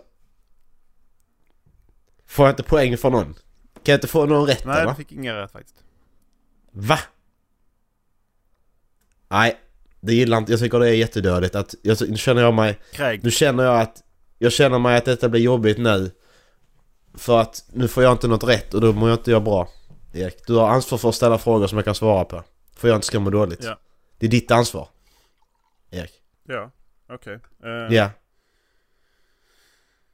K: Får jag inte poäng för någon? Kan jag inte få någon rätt
B: Nej,
K: eller?
B: du fick inga rätt faktiskt.
K: Va? Nej, det gillar inte. Jag tycker det är jättedödligt att... Jag, nu känner jag mig...
B: Kränkt.
K: Nu känner jag att... Jag känner mig att detta blir jobbigt nu. För att nu får jag inte något rätt och då mår jag inte jag bra. Erik, du har ansvar för att ställa frågor som jag kan svara på. För jag inte ska må dåligt.
B: Ja.
K: Det är ditt ansvar. Erik.
B: Ja, okej. Eh,
K: Ja.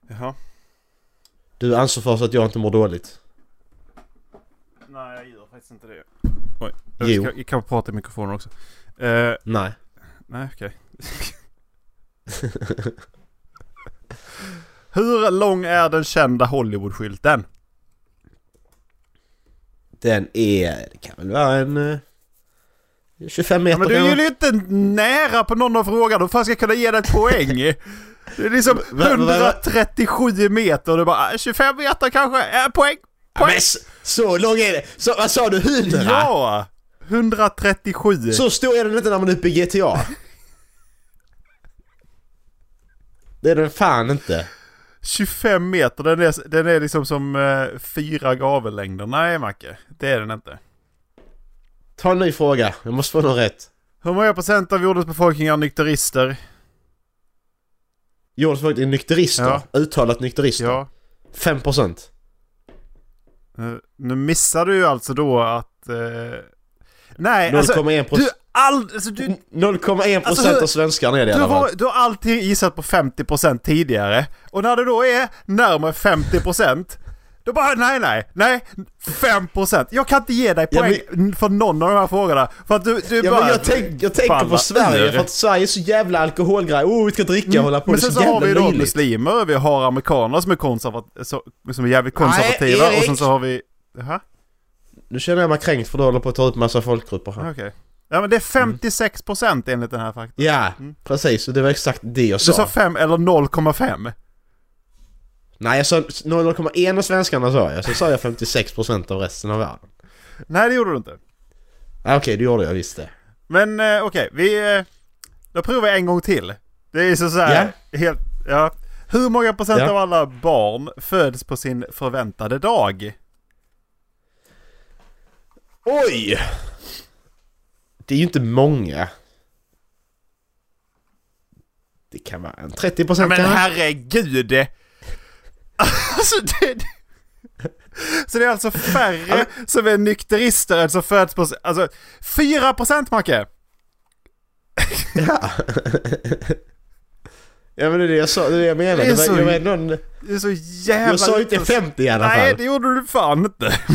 B: Jaha.
K: Du är ansvarig för att jag inte mår dåligt.
B: Nej, jag gör faktiskt inte det.
K: Jo.
B: Jag, ska, jag kan prata i mikrofonen också. Eh,
K: Nej.
B: Nej, okej. Hur lång är den kända Hollywoodskylten?
K: Den är... Det kan väl vara en... eh, 25 meter
B: Ja, men du är
K: kanske?
B: ju inte nära på någon av frågorna. Fan ska jag kunna ge dig ett poäng? Det är liksom
K: va- va- va-
B: 137 meter och du bara "Ah, 25 meter kanske? Äh, poäng!
K: Ja, men s- så lång är det! Så, vad sa du? 100?
B: Ja! 137.
K: Så stor är den inte när man är uppe i GTA. det är den fan inte.
B: 25 meter, den är, den är liksom som eh, fyra gavellängder. Nej Macke, det är den inte.
K: Ta en ny fråga. Jag måste få någon rätt.
B: Hur många procent av jordens befolkning är nykterister?
K: Jordens befolkning är nykterister.
B: Ja.
K: Uttalat nykterister.
B: Ja.
K: 5%.
B: Eh, Nu missar du ju alltså då att... Eh, nej, alltså...
K: 0,1
B: Du, all, alltså, du,
K: 0,1%
B: Alltså, hur-
K: av svenskarna är det i
B: du,
K: alla fall.
B: har, du har alltid gissat på 50% tidigare. Och när det då är närmare 50% då bara nej, nej, nej, 5%. Jag kan inte ge dig
K: Ja,
B: poäng för någon av de här frågorna. För att du, du
K: Ja,
B: bara...
K: men jag, tänk, jag tänker
B: faller
K: på Sverige
B: ur. Mm.
K: för att Sverige är så jävla alkoholgrej. Oh, vi ska dricka och hålla på.
B: Men
K: det är
B: sen så
K: jävla
B: har vi då
K: löjligt.
B: muslimer, vi har amerikaner som är, konservat- så- som är jävligt
K: Nej,
B: konservativa
K: Erik!
B: och sen så har vi... Jaha,
K: Nu känner jag mig kränkt för du håller på att ta upp massa folkgrupper här.
B: okej. Ja men det är
K: Mm.
B: 56% enligt den här faktan.
K: Ja, precis. Och det var exakt det jag
B: Mm. Du sa
K: sa.
B: 5 eller 0,5?
K: Nej, jag sa 0,1 av svenskarna sa jag. Så sa jag 56% av resten av världen.
B: Nej det gjorde du inte.
K: Ah, Okej, det gjorde jag visst det.
B: Men eh, okej, vi... Eh, då provar jag en gång till. Det är så, så här, helt... Ja. Hur många procent
K: Ja.
B: av alla barn föds på sin förväntade dag?
K: Oj! Det är ju inte många. Det kan vara en 30%
B: Ja, men
K: kanske.
B: herregud! Alltså det... det- Så det är alltså färre som är nykterister än som föds på... Alltså 4% Macke!
K: Ja men det är det jag sa, det är det jag menar.
B: Det är
K: Det var,
B: så-
K: jag, var ändå en,
B: Det är så jävla...
K: jag sa ju inte 50 i alla fall.
B: Nej, det gjorde du fan inte.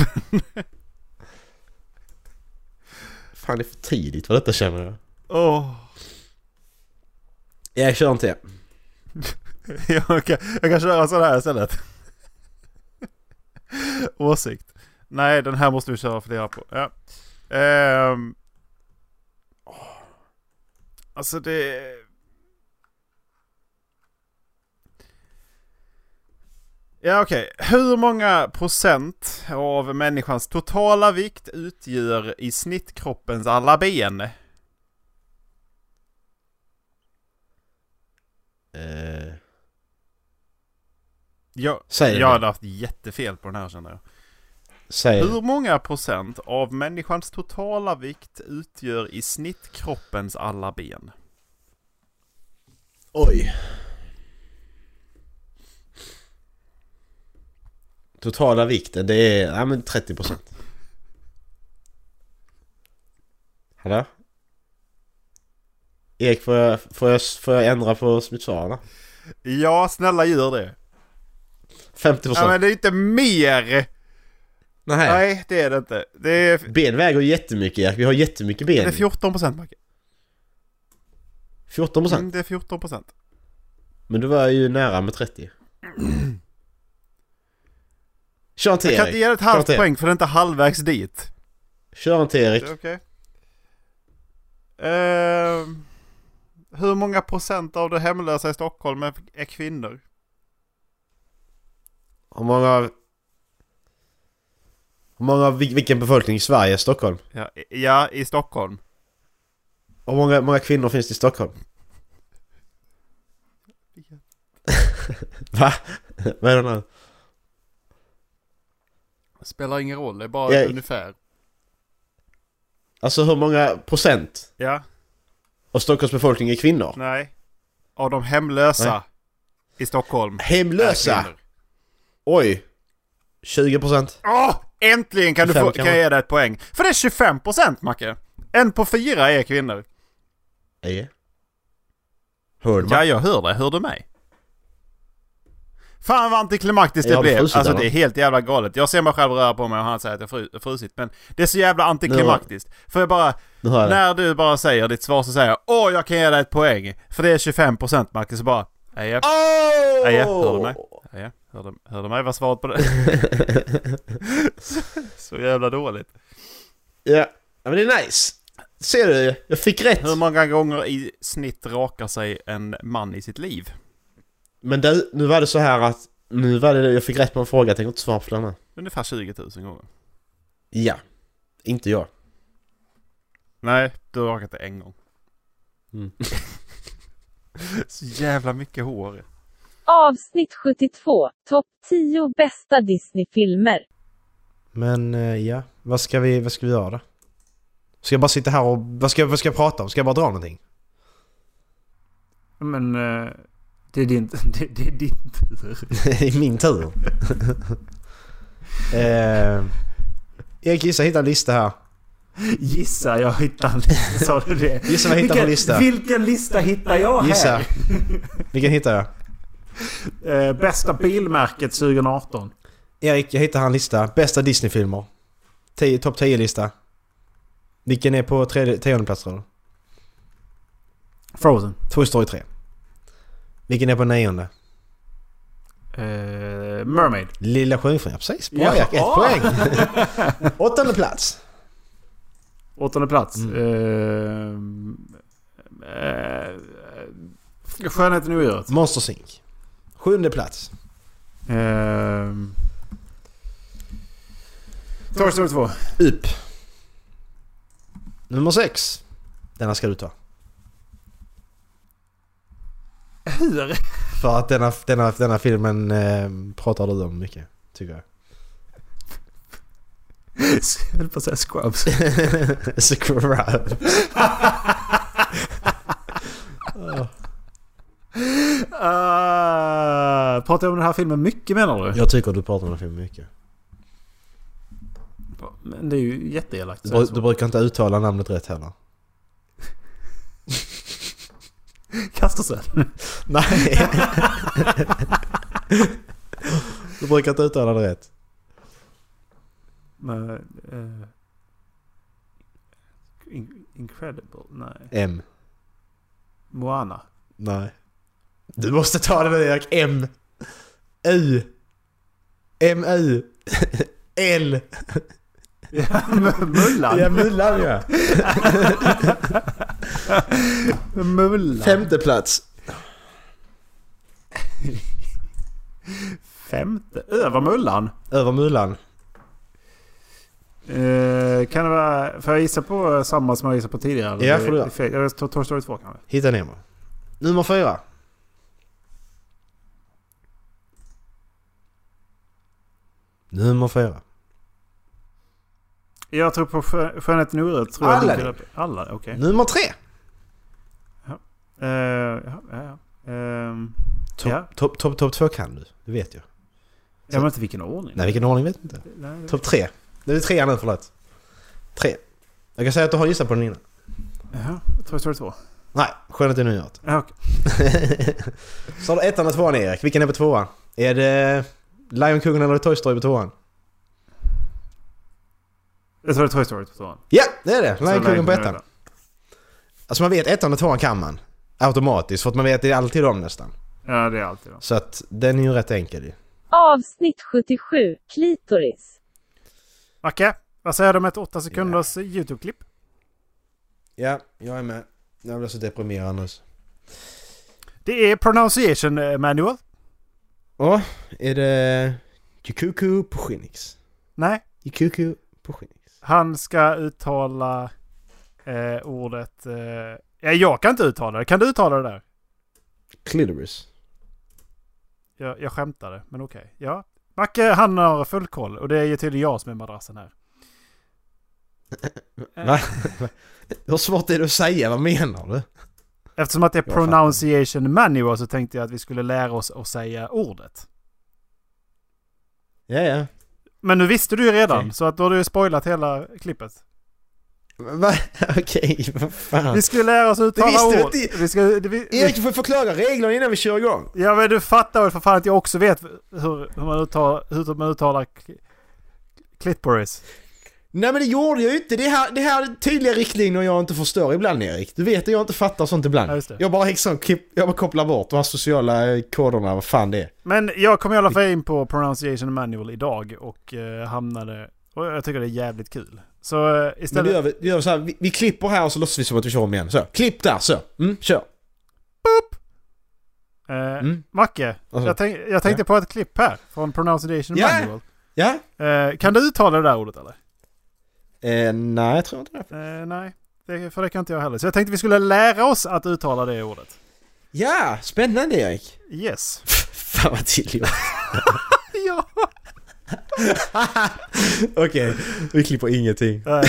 K: Fan det är för tidigt för detta känner jag.
B: Åh.
K: Jag kör inte.
B: jag, kan, jag kan köra sån här istället. Åsikt. Nej, den här måste vi köra och fundera på. Ja. Ehm. Åh. Alltså det... Ja okej, hur många procent av människans totala vikt utgör i snitt kroppens alla ben?
K: Eh,
B: Jag,
K: Säg det.
B: jag hade haft jättefel på den här känner jag.
K: säg
B: Hur många procent av människans totala vikt utgör i snitt kroppens alla ben?
K: Oj. Totala vikten det är, ja men 30%. Hallå? Erik får jag, får jag, får jag ändra på mitt svar? eller?
B: Ja, snälla gör det.
K: 50%?
B: Ja, men det är inte mer!
K: Nej.
B: Nej, det är det inte. Det är,
K: Ben väger ju jättemycket Erik, vi har jättemycket
B: det
K: ben.
B: är 14 procent, Macke.
K: 14%?
B: Mm, det är 14 procent.
K: Men du var ju nära med 30. Kör inte
B: Jag
K: Erik.
B: kan inte ge dig ett
K: Kör
B: halvt
K: inte.
B: poäng för det är inte halvvägs dit.
K: Kör inte Erik.
B: Okej. Ehm, hur många procent av de hemlösa i Stockholm är, är kvinnor?
K: Hur många... Hur många... vil- Vilken befolkning i Sverige? Stockholm?
B: Ja, i- ja i Stockholm.
K: Hur många, många kvinnor finns det i Stockholm? Va? Vad är det nu?
B: Spelar ingen roll, det är bara
K: Jag-
B: ungefär.
K: Alltså hur många procent
B: Ja.
K: av Stockholms befolkning är kvinnor?
B: Nej. Av de hemlösa
K: Nej.
B: i Stockholm. Äh,
K: Hemlösa!
B: är kvinnor.
K: Oj! 20 procent.
B: Åh! äntligen kan, du
K: 25
B: få, kan jag
K: kanske.
B: ge dig ett poäng. För det är 25 procent, Macke. En på fyra är kvinnor.
K: Är. Hörde man?
B: Ja, jag hör dig. Hör du mig? Fan vad antiklimaktiskt
N: Jag
B: det
N: har
B: blev.
N: frusit,
B: Alltså
N: eller?
B: det är helt jävla galet. Jag ser mig själv röra på mig och han säger att jag fru- frusit. Men det är så jävla antiklimaktiskt. För jag bara...
N: Nu hör jag.
B: När du bara säger ditt svar så säger jag Åh jag kan ge dig ett poäng. För det är 25% Marcus. Så bara... Eje.
N: Åh!
B: Eje, hör du mig? Eje, hör du, hör du mig? Vad svaret på det? så, så jävla dåligt.
N: Ja, men det är nice. Ser du? Jag fick rätt.
B: Hur många gånger i snitt rakar sig en man i sitt liv?
N: Men du, nu var det så här att... Nu var det, jag fick rätt på en fråga, jag tänker inte svara på den här.
B: Ungefär 20 000 gånger.
N: Ja. Inte jag.
B: Nej, du har rakat det en gång.
N: Mm.
B: Så jävla mycket hår.
I: Avsnitt 72. Topp 10 bästa Disney-filmer.
K: Men eh, ja, vad ska vi, vad ska vi göra då? Ska jag bara sitta här och... Vad ska, vad ska jag prata om? Ska jag bara dra någonting?
J: Men eh, det är din, det, det är din tur.
K: Det är min tur. eh, Erik gissa, hitta en lista här.
J: Gissa, jag hittar en lista. Sa du det?
K: Gissa vad jag hittar på
J: vilken,
K: lista.
J: Vilken lista hittar jag
K: Gissa.
J: här?
K: Vilken hittar jag?
J: Eh, bästa bilmärket 2018.
K: Erik, jag hittar här en lista. Bästa Disney-filmer. 10 Topp 10-lista. Vilken är på tredje- tionde plats tror du?
J: Frozen.
K: Toy Story 3. Vilken är på nionde?
J: Eh, Mermaid.
K: Lilla Sjöjungfrun, ja precis. Bra Erik, ett
J: Jaha.
K: poäng. Åttonde plats.
J: Åttonde plats. Mm. Eh, skönheten i odjuret.
K: Monsters Inc. Sjunde plats.
J: Ehm...
K: Mm.
J: Toy Story 2.
K: Upp. Nummer sex. Denna ska du ta.
J: Hur?
K: För att denna, denna, denna filmen eh, pratar du om mycket, tycker jag.
J: Jag höll på att säga Scrubs.
K: Scrubs.
J: Ah, pratar jag om den här filmen mycket menar du?
K: Jag tycker du pratar om den filmen mycket.
J: Men det är ju jätteelakt.
K: Du,
J: så är det
K: bru-
J: så.
K: du brukar inte uttala namnet rätt heller.
J: Kastelsen?
K: Nej. du brukar inte uttala det rätt.
J: Men, eh, in- incredible? Nej.
K: M.
J: Moana?
K: Nej. Du måste ta det nu Erik. M. U. M. U. L.
J: Ja, Mullan?
K: Ja, Mullan ja.
J: Mullan?
K: Femte plats.
J: Femte? Över Mullan?
K: Över Mullan.
J: Eh, kan det vara... Får jag gissa på samma som jag gissade på tidigare? eller?
K: Ja, får du göra.
J: Det är fel. Jag tar Toy Story 2 kanske.
K: Hitta Nemo. Nummer fyra. Nummer fyra.
J: Jag tror på Skö- Skönheten i odjuret. tror jag
K: Alla
J: dyker
K: det.
J: upp. Alla? Okej.
K: Nummer tre.
J: Eh, ja, ja, ja. Ehm,
K: Topp
J: ja.
K: top, top, top två kan du, det vet jag.
J: Jag vet inte vilken ordning.
K: Nej, vilken ordning vet jag inte.
J: Nej, det vet
K: Topp tre. Det är tre nu, förlåt. Tre. Jag kan säga att du har gissat på den innan.
J: Jaha, Toy Story 2.
K: Nej, skönheten i odjuret.
J: Ja, okej.
K: Så har du ettan och tvåan Erik. Vilken är på tvåan? Är det Lejonkungen eller Toy Story på tvåan?
J: Jag tror det är Toy Story 2.
K: Ja, det är det.
J: Så
K: Lejonkungen på
J: Lejonkungen
K: ettan. Alltså man vet ettan och tvåan kan man. Automatiskt, för att man vet det är alltid dem nästan.
J: Ja, det är alltid de.
K: Så att den är ju rätt enkel ju.
I: Avsnitt 77. Klitoris.
B: Macke, vad säger du om ett 8 sekunders YouTube-klipp?
K: Ja, jag är med. Jag blir så deprimerad nu.
B: Det är pronunciation eh, manual.
K: Åh, är det Jukuku på Skinix?
B: Nej.
K: Jukuku på Skinix.
B: Han ska uttala eh, ordet... Eh, ja, jag kan inte uttala det. Kan du uttala det där?
K: Clitoris.
B: Jag, jag skämtade, men okej. Ja. Macke, han har full koll. Och det är ju tydligen jag som är madrassen här.
K: Va? Hur svårt är det att säga? Vad menar du?
B: Eftersom att det är
K: Jag fattar.
B: pronunciation manual så tänkte jag att vi skulle lära oss att säga ordet.
K: Ja, ja.
B: Men nu visste du ju redan, så att då har du ju spoilat hela klippet.
K: Va? Okej, vad fan.
B: Vi skulle lära oss
K: Det
B: uttala
K: visste vi
B: ord.
K: inte.
B: Vi ska, det, vi,
K: Erik, du får förklara reglerna innan vi kör igång.
B: Ja men du fattar väl för fan att jag också vet hur, hur man uttalar, hur man uttalar cl- clitoris.
K: Nej men det gjorde jag ju inte. Det här, det här är tydliga riktlinjer jag inte förstår ibland Erik. Du vet att jag inte fattar sånt ibland. Jag bara liksom, klipp- jag bara kopplar bort de här sociala eh, koderna, vad fan det är.
B: Men jag kom i alla fall in på pronunciation manual idag och eh, hamnade... Och jag tycker det är jävligt kul. Så eh,
K: Men då
B: istället...
K: gör vi, då gör vi så här, vi, vi klipper här och så låtsas vi som att vi kör om igen. Så, klipp där, så. Mm, kör.
B: Eh, Macke,
K: Alltså,
B: jag, tänk, jag tänkte
K: ja.
B: på ett klipp här från pronunciation
K: Ja.
B: manual.
K: Ja?
B: Eh, kan du uttala det där ordet eller?
K: Eh, nej, jag tror inte det.
B: Eh, nej, det, för det kan inte jag heller. Så jag tänkte vi skulle lära oss att uttala det ordet.
K: Ja, spännande Erik.
B: Yes.
K: Fan vad till
B: ja.
K: Okej, vi klipper ingenting.
B: Nej.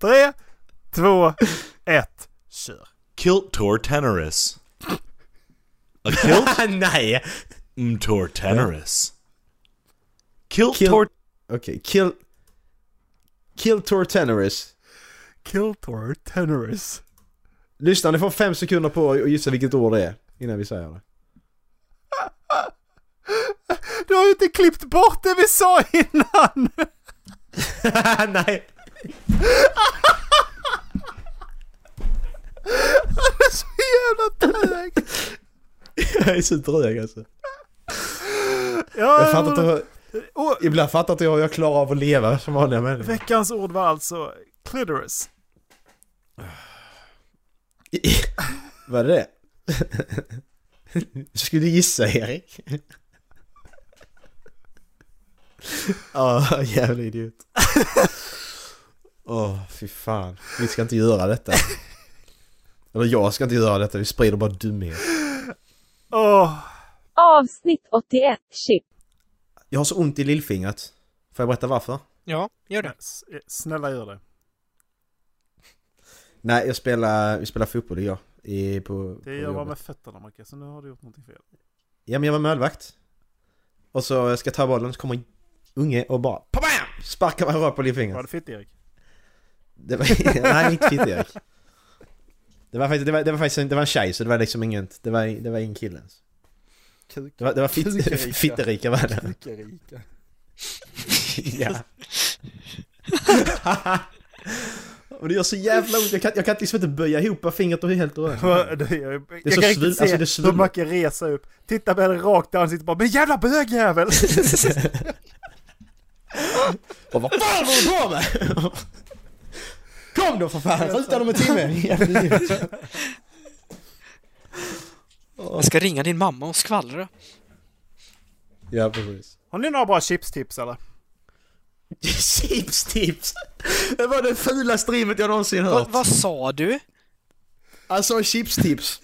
B: Tre, två, ett, kör.
J: Kilt tortanerus. A kilt?
K: Nej!
J: Mm, tortanerus. Kilt tor...
K: Okej, kill... Kill Tortanerus.
B: Kill Tortanerus.
K: Lyssna, ni får fem sekunder på att gissa vilket ord det är innan vi säger det.
B: Du har ju inte klippt bort det vi sa innan!
K: Nej.
B: Han är så jävla trög!
K: Jag är så drög alltså.
B: Ja,
K: jag fattar inte hur...
B: Och-
K: Ibland fattar inte jag hur jag klarar av att leva som vanliga människor.
B: Veckans ord var alltså clitoris.
K: Vad är det? Du skulle gissa Erik. Ja, jävla idiot. Åh, fy fan. Vi ska inte göra detta. Eller jag ska inte göra detta, vi sprider bara dumhet.
I: Avsnitt 81, Chip.
K: Jag har så ont i lillfingret. Får jag berätta varför?
B: Ja, gör det. Snälla gör det.
K: Nej, jag spelar, vi spelar fotboll igår. I, på,
B: Det
K: på
B: gör man
K: jobbet.
B: med fötterna Macke, så nu har du gjort någonting fel.
K: Ja, men jag var målvakt. Och så ska jag ta bollen, så kommer en unge och bara PABAM! Sparkar mig rakt på
B: Var
K: lillfingret.
B: det fitt Erik?
K: Det var, nej, inte fint Erik. Det var faktiskt, det var, det var faktiskt en, det var en tjej, så det var liksom inget, det var, det var ingen kille ens.
B: Kuk.
K: Det var, det var fit, fitterika var det.
B: Kukarika.
K: Ja. Och det gör så jävla ont, jag kan, jag kan liksom inte böja ihop fingret och helt och hållet.
B: Jag, Mm. jag, jag
K: Det är så
B: kan
K: svul-
B: riktigt se
K: alltså, det är svul-
B: hur Macke reser upp, tittar på henne rakt i ansiktet och bara 'Men jävla bögjävel!'
K: Och vad fan håller du på med? Kom då för fan, rutan om en timme! Jävla idiot.
G: Jag ska ringa din mamma och skvallra.
K: Ja, precis.
B: Har ni några bra chipstips eller?
K: Chipstips! Det var det fulaste rimmet jag någonsin
G: Va,
K: hört.
G: vad sa du?
K: Alltså chipstips.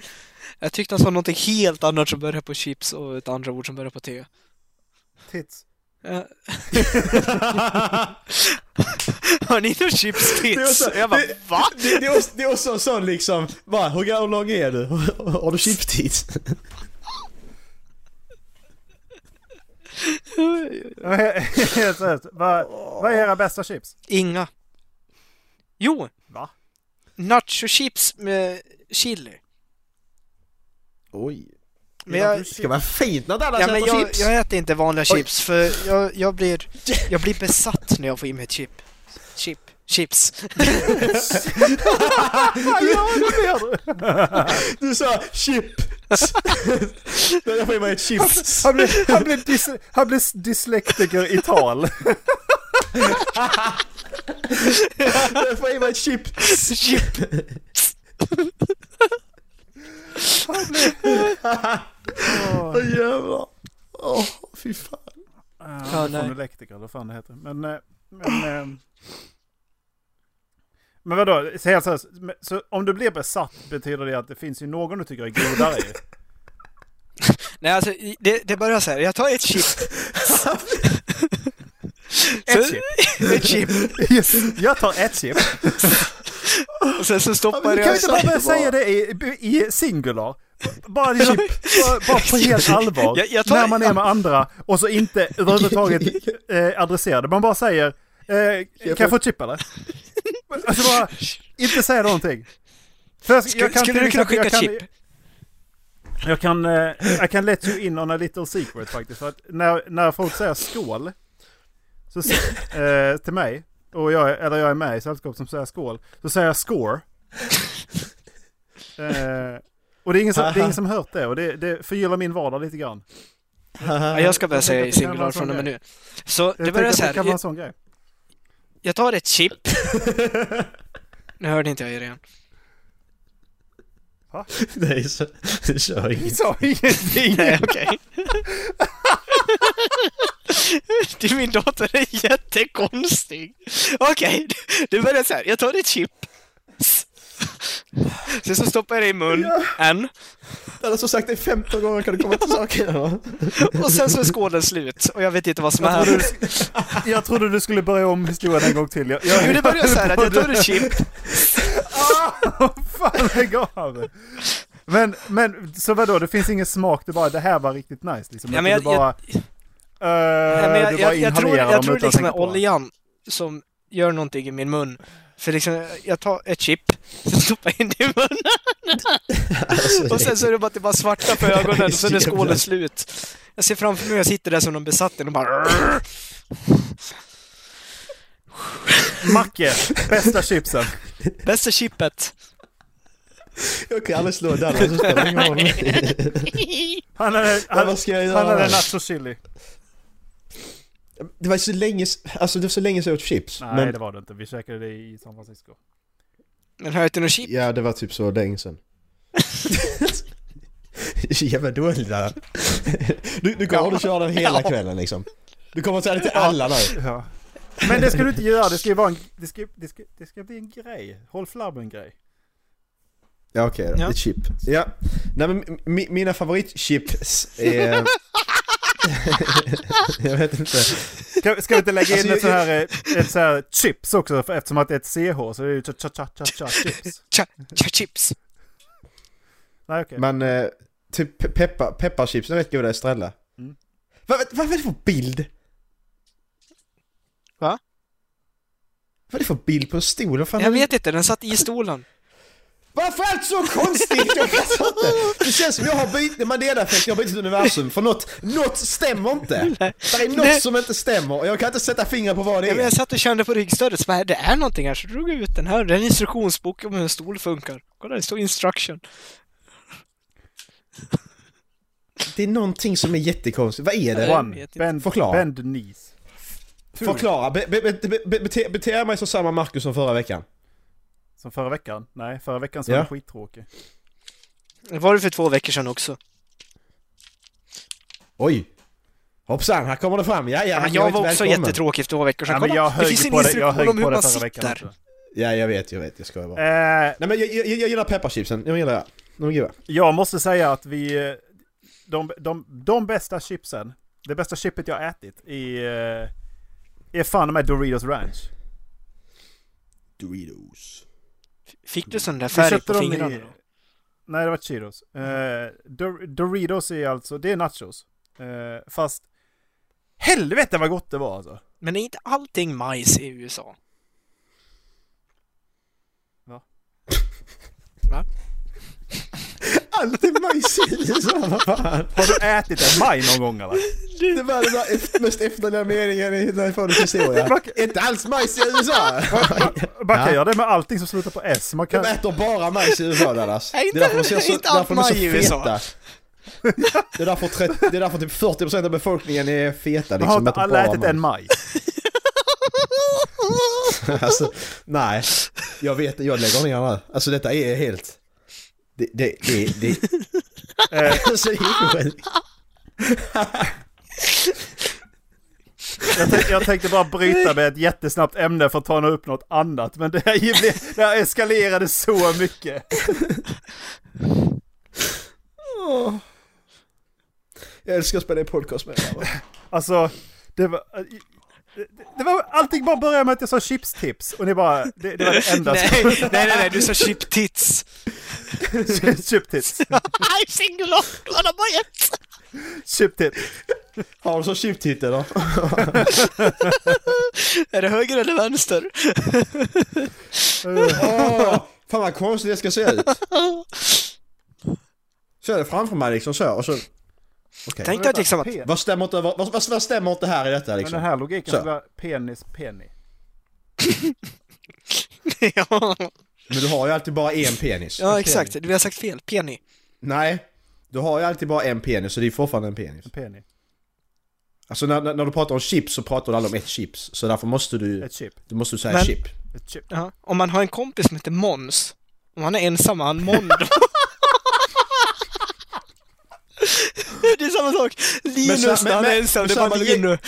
G: Jag tyckte han sa någonting helt annat som börjar på chips och ett andra ord som börjar på T.
B: Tits.
G: Eh. Har ni några chips
K: Det är
G: tits?
K: också-
G: Jag bara
K: det-
G: va?
K: Det, det, är också, det är också en sån liksom, bara hur gammal lång är du? Har du chipstips?
B: Helt seriöst, vad, vad är era bästa chips?
G: Inga. Jo!
B: Va?
G: Nachochips med chili.
K: Oj. Det ska vara fint när alla
G: ja, men
K: Alltså, äter
G: jag,
K: chips.
G: jag äter inte vanliga
K: Oj.
G: chips för jag, jag, blir, jag blir besatt när jag får i mig ett chip. Chip. Chips.
B: ja, det är du!
K: Du sa chips. jag får i mig ett chips.
B: Han blev, han blev, dys, han blev dyslektiker i tal.
K: Jag får i mig ett chips.
B: Han blev...
K: Åh jävlar. Åh, fy fan.
B: Ja,
G: nej.
B: Fonolektiker eller vad fan det heter. Men... eh, Men, eh, men vadå, så helt seriöst. men- Så om du blir besatt betyder det att det finns ju någon du tycker är godare ju.
G: Nej alltså, i- det, det börjar så här. Jag tar ett chip.
B: Ett
G: Så-
B: chip.
G: ett chip.
B: Yes, jag tar ett chip.
G: Och sen så
B: Men du kan
G: stoppar
B: ju
G: jag...
B: inte bara börja säga det i, i singular. Bara ett chip. Bara, bara på helt allvar.
G: Jag- jag tar-
B: när man är med andra och så inte överhuvudtaget eh, adresserar det. Man bara säger Eh, kan jag få ett chip eller? Alltså bara, inte säga någonting. För jag,
G: Skulle- skulle du kunna
B: jag
G: skicka
B: kan- Jag kan, eh, I can let you in on a little secret faktiskt. För att när, när folk säger skål så, s- eh, till mig, och jag, är- eller jag är med i sällskap som säger skål, så säger jag score. Eh, och det är ingen som, det är ingen som hört det och det, det förgyllar min vardag lite grann.
G: Ja, jag ska börja
B: tänker
G: säga
B: att
G: i
B: det kan vara
G: singular
B: en
G: från och
B: sån
G: med
B: grej.
G: nu. Så det
B: Jag
G: börjar
B: tänker
G: så
B: att det kan vara en
G: här.
B: sån grej.
G: Jag tar ett chip. nu hörde inte jag er igen.
K: Nej, så, det kör
G: Vi
K: inget.
G: sa ingenting! Nej, okej. Du, min dator är jättekonstig. Okej, du börjar så här. Jag tar ditt chip. Sen så stoppar jag det i mun. En.
K: Det har så sagt det 15 gånger kan du komma till saken.
G: Och sen så är skålen slut. Och jag vet inte vad som har
B: Jag trodde,
G: hänt.
B: du, jag trodde du skulle börja om historien en gång till. Jag, jag,
G: Jo, det börjar så här att jag tar ett chip.
B: Ah, Fan, lägg av! Men, men så vadå, det finns ingen smak, det bara det här var riktigt nice liksom.
G: Ja, men
B: Att du
G: jag-
B: bara... eh,
G: Nej, men jag,
B: du bara
G: jag, jag tror,
B: inhalerar
G: jag
B: dem
G: tror
B: utan att
G: liksom
B: tänka
G: det är
B: på det.
G: oljan som gör någonting i min mun. För liksom, jag tar ett chip, sen stoppar jag in det i
B: Alltså,
G: munnen. Och sen så är det bara, det är bara svarta på ögonen, så är skålen slut. Jag ser framför mig, jag sitter där som någon besatt och bara...
B: Macke, bästa chipsen.
G: Bästa chippet.
K: Jag kan aldrig slå den, så spelar det ingen roll.
B: Han hade, han,
K: vad ska jag göra?
B: han hade nacho chili.
K: Det var så länge, s- alltså det var så länge sedan jag åt chips.
B: Nej,
K: men,
B: det var det inte. Vi käkade det i San Francisco.
G: Men har jag inte något chip?
K: Ja, det var typ så länge sedan. Jävla dåligt där. Du, du kommer att köra den hela
B: Ja.
K: kvällen liksom. Du kommer att säga det till alla nu.
B: Ja. Men det ska du inte göra, det ska ju vara en, det ska, det ska, det ska bli en grej. Håll flabben grej.
K: Ja okej då,
B: Ja.
K: ett chip. Ja. Nej men mi, mina favoritchips är... jag vet inte.
B: Ska, ska vi inte lägga in
K: Alltså,
B: ett, så
K: jag-
B: här, eh, ett så här chips också för, eftersom att det är ett CH så är det ju cha cha cha cha cha chips.
G: Cha cha chips.
B: Nej okej.
K: Men eh, typ pe- peppa, pepparchips, jag vet inte vad det är, Estrella.
B: Mm.
K: Vad, vad, vad är det för bild?
G: Va?
K: Vad är det för bild på en stol? Vad fan
G: Jag
K: är det-
G: vet inte, den satt i stolen.
K: Varför är allt så konstigt? Jag vet inte. Det känns som jag har bytt Mandela-effekt, jag har bytt universum. För något, något stämmer inte. Det är
G: Nej.
K: något som inte stämmer och jag kan inte sätta fingret på vad det
G: Ja, men
K: är.
G: jag satt och kände på ryggstödet, så bara, det är någonting här. Så drog jag ut den här, det är en instruktionsbok om hur en stol funkar. Kolla, det står instruction.
K: Det är någonting som är jättekonstigt. Vad är
G: Eh,
K: det?
B: One. Bend,
K: Förklara.
B: bend knees. Two.
K: Förklara. Be, be, be, be, be, bete, bete jag mig som samma Marcus som förra veckan?
B: Som förra veckan? Nej, förra veckan så var
K: Ja.
B: den skittråkig.
G: Det var det för två veckor sedan också.
K: Oj! Hoppsan, här kommer det fram. Ja, ja,
G: Ja, men
K: ni var
G: jag
K: inte
G: var också
K: välkommen.
G: jättetråkig för två veckor sedan.
B: Ja, men
G: Kolla,
B: jag
G: det
B: högg
G: finns en
B: på det, jag högg
G: instruktion om
B: på
G: hur
B: det
G: man
B: förra veckan.
G: sitter.
B: också.
K: Ja, jag vet, jag vet. Jag skojar bara.
B: Eh,
K: Nej men jag, jag, jag gillar pepparchipsen. Jag gillar det. De är goda.
B: Jag måste säga att vi... eh, De, de, de bästa chipsen, det bästa chipet jag ätit i... eh, Är fan med Doritos Ranch.
K: Doritos.
G: Fick du sån där
B: Vi
G: färg
B: köpte
G: på
B: dem
G: fingrarna
B: i...
G: då?
B: Nej, det var Cheetos. Eh, Dor- Doritos är alltså, det är nachos. Eh, fast... Helvete vad gott det var alltså!
G: Men är inte allting majs i USA?
B: Va?
G: Va?
K: Allt är majs i, så vad fan.
B: Har du ätit en maj någon gång eller?
K: Det var den där eft- mest efterlämnade meningen i den här poddens historia. Inte alls majs i USA!
B: Man kan göra det med allting som slutar på S. Man
K: De
B: kan...
K: äter bara majs i USA Dallas.
G: Nej,
K: Det är därför de ser
G: inte-
K: så,
G: inte
K: därför de är så
G: allt majs i USA.
K: feta. Det är därför, 30, det är därför typ 40% av befolkningen är feta
B: Man har
K: liksom.
B: inte
K: äter
B: alla
K: bara
B: ätit en maj.
K: alltså, nej. Jag vet jag lägger ner nu. Alltså detta är helt... Det, det, det, det.
B: Eh.
K: alltså, det är sjukt.
B: Jag, tänk, jag tänkte bara bryta med ett jättesnabbt ämne för att ta upp något annat, men det här, ju blev- det här eskalerade så mycket.
K: Jag älskar att spela en podcast med er. va?
B: Alltså, det var... det- Det var, allting bara började med att jag sa chipstips och ni bara, det, det var det enda
G: nej, nej, nej, nej, du sa chip tits.
B: som... Chiptips,
G: I'm single off, kolla på det.
B: chiptips.
K: Har du så tjuvtitt eller?
G: Är det höger eller vänster?
K: Åh, fan vad konstigt det ska se ut. Så är det framför mig liksom så och så... Okay.
G: Tänk dig att liksom att-
K: Vad stämmer inte, över- vad, vad, vad stämmer inte här i detta
B: Men
K: liksom?
B: den här logiken
K: Så.
B: skulle vara penis, penny.
K: Men du har ju alltid bara en penis.
G: Ja, exakt. Vi har sagt fel. Penny.
K: Nej, du har ju alltid bara en penis så det är fortfarande en penis.
B: En penny.
K: Alltså när, när när du pratar om chips så pratar du aldrig om ett chips. Så därför måste du...
G: Ett chip.
K: Du måste säga
G: Men-
K: chip.
G: Ja. Om man har en kompis som heter Måns, om han är ensam, är han Mondo. det är samma sak. Linus
K: Men så-
G: när
K: men-
G: han är
K: men-
G: ensam,
K: men
G: det är
K: samma
G: bara
K: logik-
G: Linu.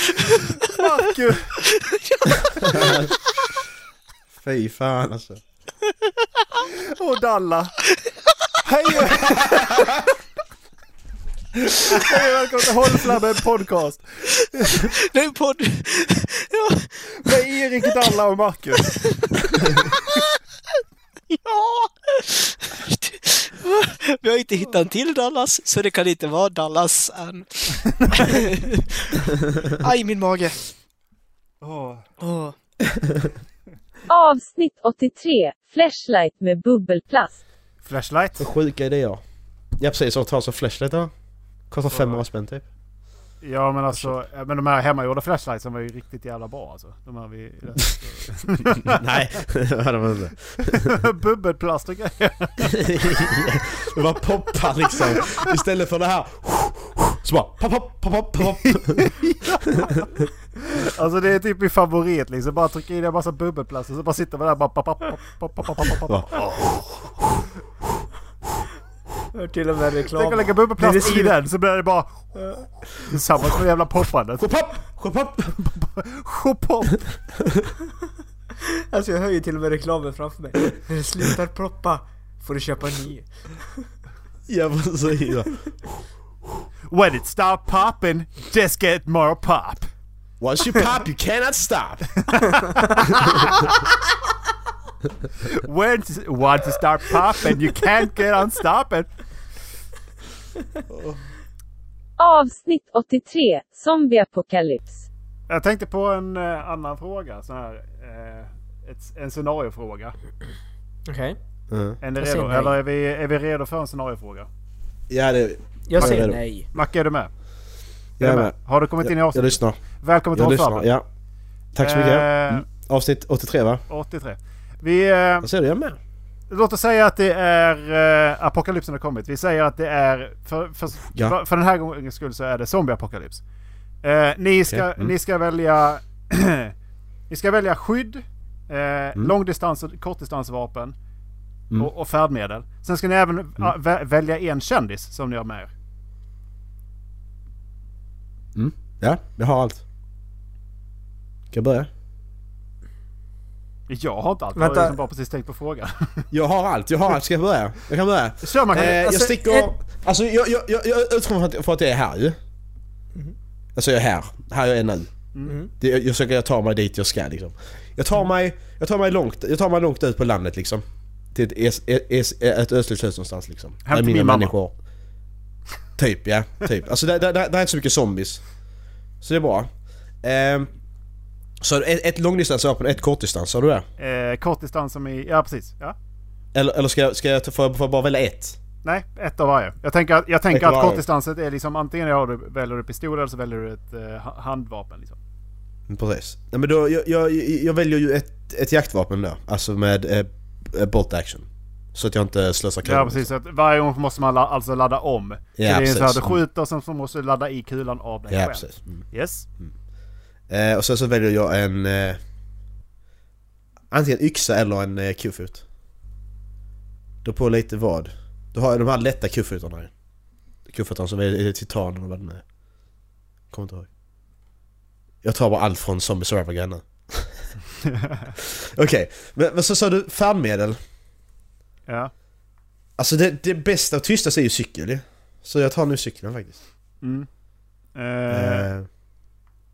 K: Fy fan alltså.
B: Och Dalla. Hej och... Hej och välkomna till Hållflabben podcast.
G: Det är en podd. Ja.
B: Med Erik, Dalla och Marcus.
G: ja! Vi har inte hittat en till Dallas, så det kan inte vara Dallas än. Aj, min mage. Åh.
I: Avsnitt 83, Flashlight med bubbelplast.
B: Flashlight.
K: Sjuka idéer. Ja precis, och ta så flashlight där. Kostar 500 spänn typ.
B: Ja men alltså, ja, men de här hemmagjorda flashlightsen var ju riktigt jävla bra alltså. De här vi...
K: Nej, det var de inte.
B: Bubbelplast och grejer.
K: Det bara poppar liksom. Istället för det här. Så bara pop, pop, pop, pop, pop.
B: Alltså det är typ min favorit liksom. Bara trycka in en massa bubbelplast och så bara sitter man där och bara... Pop, pop, pop, pop, pop, pop, pop, pop.
J: Hör till och med reklam.
B: Tänk att lägga bubbelplast i den så blir det bara... Samma som jävla poppandet.
K: Chopop! Chopop!
B: Chopop!
J: Alltså jag hör ju till och med reklamen framför mig. När det slutar proppa får du köpa en ny.
K: Ja precis.
B: When it start popping, just get more pop.
K: Once you pop you cannot stop.
B: When to, once you start popping you can't get on stopping.
I: Avsnitt 83, Zombieapokalyps.
B: Jag tänkte på en eh, annan fråga. Sån här, eh, ett, en scenariofråga.
J: Okej.
K: Eh.
B: Är ni
J: Jag säger
B: redo?
J: nej.
B: Eller är vi, är vi redo för en scenariofråga?
K: Ja det...
J: Jag
K: är
J: säger
K: redo.
J: nej.
B: Macke, är du med?
K: Jag
B: Är
K: är
B: du
K: med.
B: Har du kommit in i
K: Jag-
B: avsnittet?
K: Jag lyssnar.
B: Välkommen till
K: Jag
B: Hållflabben.
K: lyssnar, ja. Tack så mycket.
B: Eh,
K: Mm. Avsnitt 83 va?
B: 83. Eh, Vi... Eh,
K: Vad säger du? Jag är med.
B: Låt oss säga att det är... Eh, apokalypsen har kommit. Vi säger att det är... För, för,
K: Ja.
B: för, för den här gången skull så är det zombieapokalyps. Eh, ni, ska,
K: Okej, mm.
B: ni ska välja... ni ska välja skydd, eh, långdistans och kortdistansvapen
K: Mm.
B: och, och färdmedel. Sen ska ni även ah, vä- välja en kändis som ni har med er.
K: Mm. Ja, jag har allt. Ska jag börja?
B: Jag har inte allt. Jag har
K: Vänta.
B: liksom bara precis tänkt på frågan.
K: Jag har allt, jag har allt. Ska jag börja? Jag kan börja.
B: Kör Mackan.
K: eh, jag
B: Alltså,
K: sticker... Alltså jag, jag, jag, jag utgår från att, från att jag är här ju.
B: Mhm.
K: Alltså jag är här. Här jag är nu.
J: Mm.
K: Det, jag, jag försöker jag tar mig dit jag ska liksom. Jag
B: Mhm.
K: tar mig, jag tar mig, långt, jag tar mig långt ut på landet liksom. Till ett, es, es, ett ödsligt hus någonstans liksom.
B: Hem
K: Där
B: till
K: mina
B: min mamma.
K: människor- Typ ja, typ. Alltså där, där, där, där är inte så mycket zombies. Så det är bra. Ehm, så ett, ett långdistansvapen och ett kortdistans, sa du det?
B: Eh, kortdistans som i... Ja, precis. Ja.
K: Eller, eller ska, jag- ska jag, ta- får jag, får jag bara välja ett?
B: Nej, ett av varje. Jag tänker, att- jag
K: Ett
B: tänker
K: av
B: att
K: varje.
B: kortdistanset är liksom antingen har du, väljer du pistol eller så väljer du ett eh, ha- handvapen. Liksom.
K: Mm, Precis. Nej, men då, jag, jag, jag väljer ju ett, ett jaktvapen då. Alltså med eh, eh, bolt action. Så att jag inte slösar kulor.
B: Ja precis, att varje gång måste man la, alltså ladda om. så det är
K: precis.
B: så att du skjuter och sen så måste du ladda i kulan av dig
K: Ja,
B: själv.
K: precis. Mm.
B: Yes.
K: Eh, och sen så väljer jag en... Eh, antingen yxa eller en eh, kofot. Då på lite vad. Då har jag de här lätta kofotarna ju. Kofotarna som är, är titan eller vad den är. Kommer inte ihåg. Jag tar bara allt från Zombie Survivor grannar. Okej, men, men så sa du färdmedel.
B: Ja.
K: Alltså det, det bästa och tystaste är ju cykel ju. Så jag tar nu cykeln faktiskt.
B: Mm. Eh,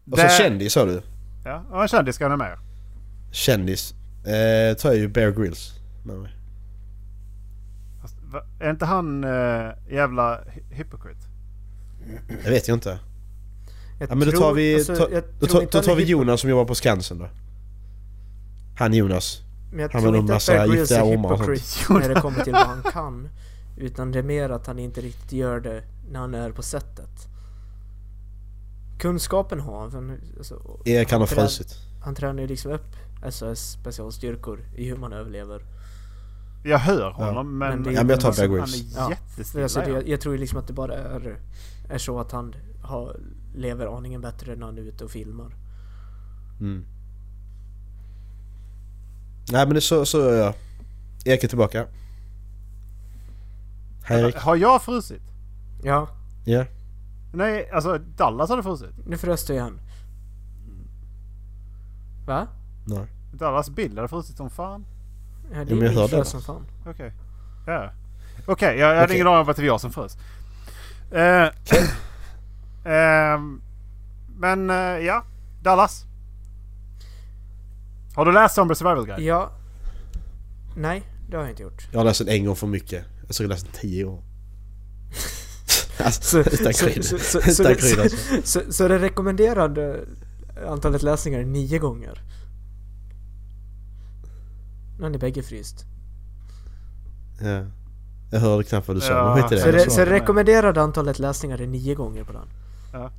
K: Eh, och så
B: där-
K: kändis sa du.
B: Ja, och en kändis ska ni ha med er.
K: Kändis. Eh, tar jag ju Bear Grylls med mig.
B: Fast, va, Är inte han eh, jävla hy- hypocrite?
K: Det vet jag inte.
J: Jag Jag
K: Ja, men då tar
J: tror-
K: vi,
J: alltså,
K: ta,
J: jag
K: då,
J: tror
K: ta,
J: inte
K: då tar
J: han
K: vi
J: är hip-
K: Jonas som jobbar på Skansen då. Han Jonas.
G: Men jag
K: Han
G: tror
K: med en
G: inte att
K: massa
G: Bear Grylls
K: giftiga
G: är
K: ormar och sånt.
G: hypocrit när det kommer till vad han kan. Utan det är mer att han inte riktigt gör det när han är på sättet. Kunskapen har han. för han- Alltså, och
K: Erik, han har
G: trä-
K: frusit.
G: Han tränar ju liksom upp SAS specialstyrkor i hur man överlever.
B: Jag hör honom, men-
G: det är-
B: Ja, men jag tar
G: alltså,
B: Bear Grylls. han är jättestilla,
G: alltså, det,
B: ja.
G: jag, jag tror ju liksom att det bara är, är så att han har, lever aningen bättre när han är ute och filmar.
K: Mm. Nej men det så, så gör jag. Erik är tillbaka. Hej Erik.
B: Har jag frusit?
G: Ja.
K: Ja.
B: Nej, alltså Dallas hade frusit.
G: Nu frös du igen. Va?
K: Nej.
B: Dallas bild hade frusit som fan.
G: Ja,
K: men jag
G: din
K: hörde
G: frös
K: det.
G: som fan.
B: Okej. Ja. Okej, jag, jag hade
K: Okej.
B: ingen aning om att det var jag som frös. Eh, ehm, men eh, ja, Dallas. Har du läst Zombie Survival Guide?
G: Ja. Nej, det har jag inte gjort.
K: Jag har läst den en gång för mycket. Jag skulle läst den tio gånger. alltså, utan
G: så,
K: krydd.
G: så, så, så,
K: Utan krydd
G: det,
K: alltså.
G: så, så, så det rekommenderade eh, antalet läsningar är nio gånger? Nu har ni bägge fryst.
K: Ja. Jag hörde knappt vad du sa, men skit i det.
G: Så,
K: Jag
G: det,
K: sa
G: så det
K: det.
G: rekommenderade antalet läsningar är nio gånger på den?
B: Ja.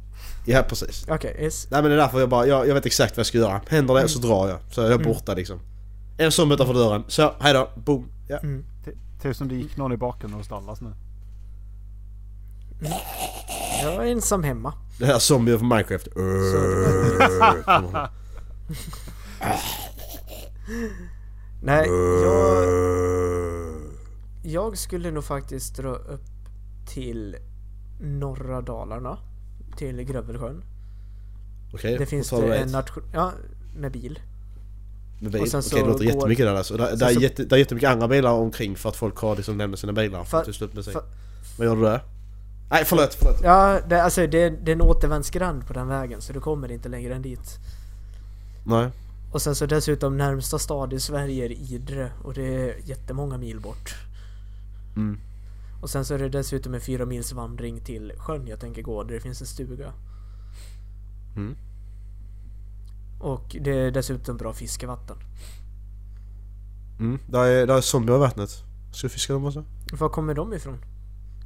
K: Ja precis.
G: Okej, yes.
K: Nej men det är därför jag bara, jag, jag vet exakt vad jag ska göra. Händer det så drar jag. Så jag är
G: Mm.
K: borta liksom. En zombie utanför dörren. Så, hejdå. Boom. Ja.
G: Mm.
B: T- Typ som det gick någon i bakgrunden hos Dallas nu.
G: Jag är ensam hemma.
K: Det här zombien från Minecraft. Uh,
G: Nej, jag...
K: Äh.
G: Jag skulle nog faktiskt dra upp till norra Dalarna. Till Grövelsjön.
K: Okej,
G: det finns
K: då tar du
G: det en
K: ett.
G: nation... Ja, med bil.
K: Med bil.
G: Och sen
K: Okej
G: så
K: det låter
G: går-
K: jättemycket där alltså. Där,
G: sen
K: där, är
G: så-
K: jätte, där är jättemycket andra bilar omkring för att folk har liksom lämnat sina bilar för att
G: Fa-
K: till slut med sig.
G: fa-
K: Vad gör du där? Nej förlåt, förlåt.
G: Ja, det, alltså det, det är en återvändsgränd på den vägen så du kommer inte längre än dit.
K: Nej.
G: Och sen så dessutom närmsta stad i Sverige är Idre och det är jättemånga mil bort.
K: Mm.
G: Och sen så är det dessutom en fyra mils vandring till sjön jag tänker gå där det finns en stuga.
K: Mm.
G: Och det är dessutom bra fiskevatten.
K: Mm. Där är, där är zombier i vattnet. Ska du fiska dem också?
G: Var kommer de ifrån?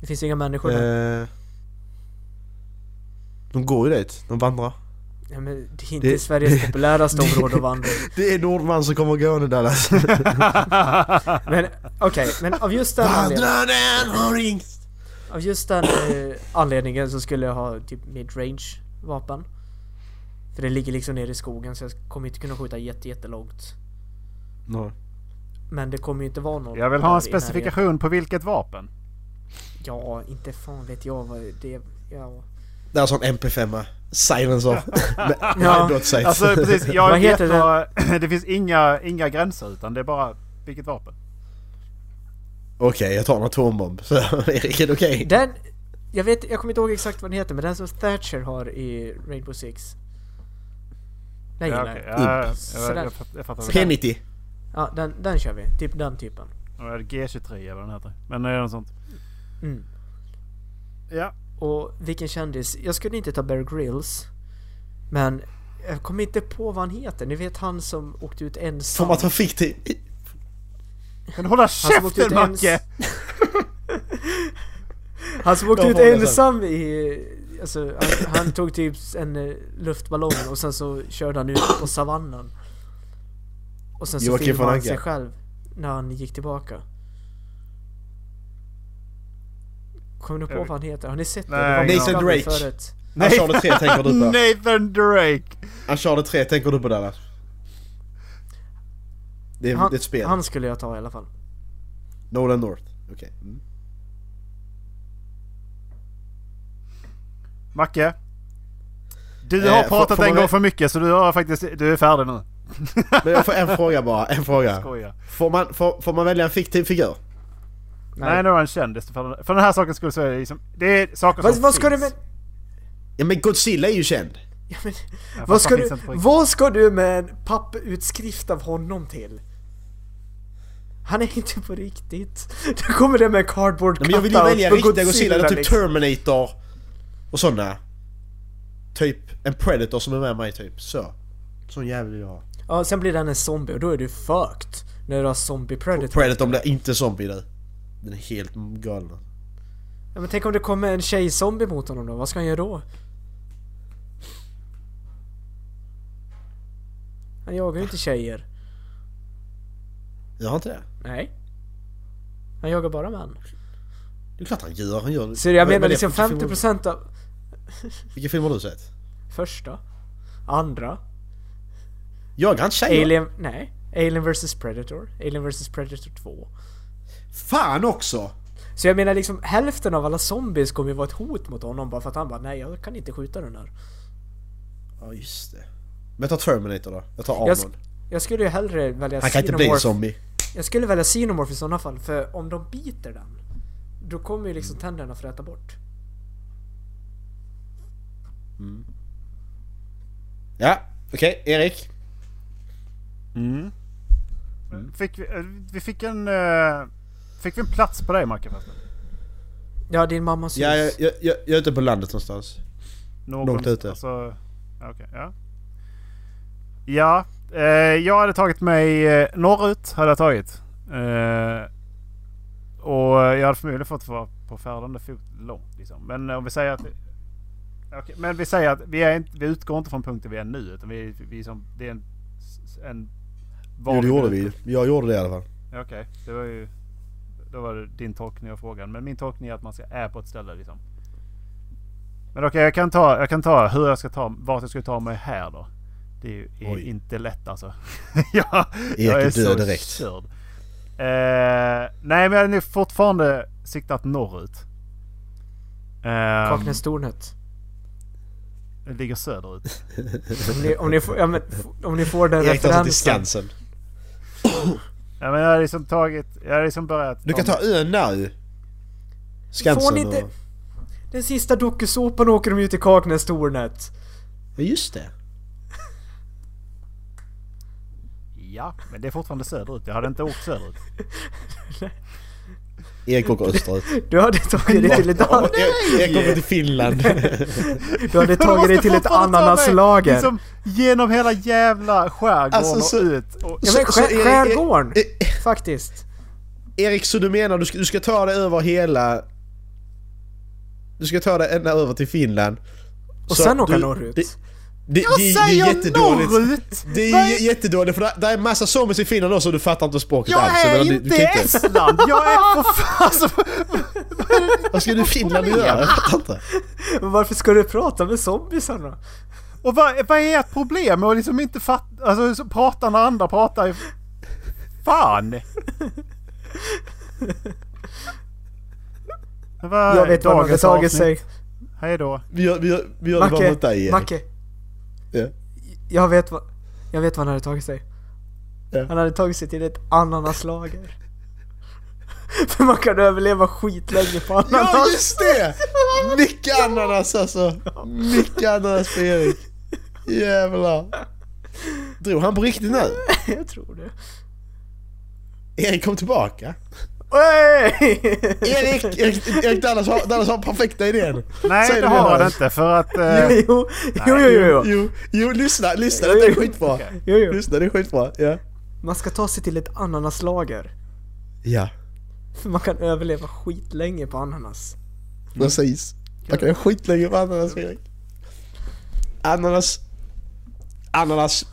G: Det finns inga människor där.
K: Eh, de går ju dit. De vandrar.
G: Ja, men det är inte Sveriges populäraste område att vandra.
K: Det är Nordman som kommer gående Dallas.
G: Men okej, men av just den
K: anledningen...
G: Av just den eh, anledningen så skulle jag ha typ midrange vapen. För det ligger liksom nere i skogen så jag kommer inte kunna skjuta jätte, jättelångt.
K: Nej.
G: Men det kommer ju inte vara någon
B: Jag vill ha en
G: där i närheten.
B: specifikation på vilket vapen.
G: Ja, inte fan vet jag vad det... Ja.
K: Där är alltså sån MP5. Silencer. Med
B: Ja.
K: dot sight.
B: Alltså precis, jag
G: Vad
B: vet
G: heter
B: vad- det? finns inga, inga gränser utan det är bara vilket vapen.
K: Okej, jag tar en atombomb. Så Erik, är det okej?
G: Den... Jag vet, jag kommer inte ihåg exakt vad den heter men den som Thatcher har i Rainbow Six. Den
B: Ja,
G: gillar
B: okej.
G: jag.
B: Ja, ja, ja.
G: Så
B: Jag- jag
G: den-
B: fatt- jag fattar.
G: så den-
K: P90.
G: Ja, den, den kör vi. Typ den typen.
B: Ja, G23 eller vad den heter. Men det är något sånt.
G: Mm.
B: Ja.
G: Och vilken kändis? Jag skulle inte ta Bear Grylls. Men jag kommer inte på vad han heter. Ni vet han som åkte ut
K: Får
G: ensam.
K: man trafikteam?
B: Men hålla
G: som åkte ut
B: käften
G: ens-
B: Macke!
G: Han som åkte
B: De
G: ut
B: får det sen.
G: ensam i... Alltså, han, han tog typ en eh, luftballong och sen så körde han ut på savannen. Och sen så
K: Joakim
G: filmade
K: von Anka.
G: han Alltså, sig själv när han gick tillbaka. Kommer ni på
B: Jag vet-
G: vad han heter? Har ni sett
B: Nej,
G: det? det?
K: Nathan
G: var
K: Drake.
G: förut.
K: Nej. Uncharted 3 tänker du på.
B: Nathan Drake!
K: Uncharted 3 tänker du på Dallas? Det är,
G: han,
K: det är ett spel.
G: Han skulle jag ta i alla fall.
K: Nolan North. Okej. Mm.
B: Macke! Du
K: Eh,
B: har
K: får-
B: pratat
K: får man
B: en gång
K: vä-
B: för mycket så du har faktiskt, du är färdig nu.
K: Men jag får en fråga bara. En fråga.
B: Skoja.
K: Får man, får, får man välja en fiktiv figur?
B: Nej, nu är han kändis. För för den här saken skulle så är det liksom, det är saker
G: Vad,
B: som
G: vad ska du
B: finns.
G: med...
K: Ja men Godzilla är ju känd.
B: Ja,
G: Vad
B: fast
G: ska,
B: han
G: du,
B: finns inte på riktigt.
G: vad ska du med en papputskrift av honom till? Han är inte på riktigt. Du kommer det med cardboard
K: Nej, men jag vill ju välja
G: cutout liksom. på
K: riktiga Godzilla, eller typ
G: liksom.
K: Terminator och sådana. typ en predator som är med mig typ. Så. Sån jävel vill jag ha.
G: Ja, sen blir den en zombie och då är du fucked. När du har zombie predator.
K: Predator blir inte zombie du. Den är helt galen.
G: Ja, men tänk om det kommer en tjejzombie mot honom då? Vad ska han göra då? Han jagar ju inte tjejer.
K: Gör han inte det?
G: Nej. Han jagar bara män.
K: Det är klart han gör. Han gör
G: Så jag
K: Vad är
G: menar
K: det
G: liksom
K: för film?
G: 50% av...
K: Vilka filmer har du sett?
G: Första. Andra.
K: Jagar han tjejer?
G: Alien... Nej. Alien vs Predator. Alien vs Predator 2.
K: Fan också!
G: Så jag menar liksom hälften av alla zombies kommer ju vara ett hot mot honom bara för att han bara nej jag kan inte skjuta den där.
K: Ja just det. Men jag tar Terminator då. Jag tar
G: Jag,
K: Arnold.
G: jag skulle ju hellre välja
K: Han kan inte bli en
G: Xenomorph.
K: zombie.
G: Jag skulle välja Xenomorph i sådana fall för om de biter den då kommer ju liksom tänderna fräta bort.
K: Mm. Ja, okej. Erik.
B: Mm. Fick vi, eh, vi fick en... eh, fick vi en plats på dig Mackan? förresten?
G: Ja din mammas
K: Ja, jag,
G: hus.
K: jag, jag, jag är ute på landet någonstans.
B: Någon-
K: Långt ute.
B: Alltså, ja, okej, ja. Ja, eh, jag hade tagit mig eh, norrut. Hade jag tagit. Eh, och jag hade förmodligen fått vara på färdande fot långt. Liksom. Men eh, om vi säger att... Okej, men vi säger att vi, är inte, vi utgår inte från punkten vi är nu. Utan vi, vi är som, det är en... en
K: Jo, det gjorde vi ju. Jag gjorde det i alla fall.
B: Ja, Okej, det var ju... Då var det din tolkning av frågan. Men min tolkning är att man ska är på ett ställe liksom. Men okej, jag, kan ta, jag kan ta hur jag ska ta, vart jag ska ta mig här då. Det är ju är
K: Oj.
B: inte lätt alltså. jag, jag
K: är
B: är
K: död
B: så
K: direkt.
B: körd. Eh, nej, men jag har nu fortfarande siktat norrut. Ehm,
G: Kaknästornet.
B: Eh, det ligger söderut.
G: Om ni, om ni, får, ja, men, f- om ni får den
K: alltså
G: referensen.
B: Ja, men jag har liksom tagit... Jag har liksom börjat...
K: Du kan ta ön nu.
G: Får
K: Skansen
G: ni inte... Den sista dokusåpan åker de ju till Kaknästornet.
K: Ja just det.
B: Ja, men det är fortfarande söderut. Jag hade inte åkt söderut.
K: Erik åker österut.
G: Du hade tagit dig till ett annat...
K: Jag- jag kommer till Finland.
G: Du hade
B: Men
G: tagit dig
B: måste
G: till ett
B: fortfarande ta mig
G: ananaslager.
B: Liksom genom hela jävla skärgården
K: Alltså, så-
B: och ut. Och,
G: Ja, men
K: Så- så
G: skär,
K: är-
G: skärgården! Faktiskt.
K: Erik, så du menar du ska, du ska ta dig över hela... Du ska ta dig ända över till Finland.
G: Och
K: Så
G: sen åka
K: du-
G: norrut.
K: Det, det,
G: Jag
K: det,
G: säger
K: det är jättedåligt.
G: norrut!
K: Det är
G: Vad
K: j- jättedåligt för där, där är massa zombies i Finland också och du fattar inte språket
B: jag
K: alls. Jag
B: är
K: menar, du-
B: inte
K: du
B: i
K: kan
B: Estland! Jag är på fan... Alltså,
K: Vad ska du i Finland göra? Jag fattar inte.
G: Men varför ska du prata med zombiesarna?
B: och vad, vad är ert problem med att liksom inte fatta... Alltså så prata när andra pratar. i- Fan! Det var
G: Jag vet vad man
B: dagens
G: har tagit sig.
B: avsnitt. Hej då.
K: Vi gör, vi gör, vi gör det bara
G: Macke,
K: mot dig Erik.
G: Macke.
K: Ja.
G: Jag vet vad... Jag vet vad han hade tagit sig. Han hade tagit sig till ett ananaslager. För man kan överleva skitlänge på ananas.
K: Ja just det! Mycket ananas alltså. Mycket ananas för Erik. Jävlar. Drog han på riktigt nu?
G: Jag tror det.
K: Erik kom tillbaka.
G: Oj!
K: Erik, Erik, Erik Dallas, har, Dallas har perfekta idén.
B: Nej,
K: Säg
B: det har han
K: Dallas.
B: inte för att... eh,
G: Jo, jo, jo, jo, jo.
K: Jo, jo, lyssna, lyssna,
G: Jo,
K: det är
G: jo.
K: skitbra.
G: Jo, jo.
K: Lyssna, det är skitbra. Ja.
G: Man ska ta sig till ett ananaslager.
K: Ja.
G: För man kan överleva skitlänge på ananas.
K: Precis. Man kan göra skitlänge på ananas Erik. Ananas. Ananas.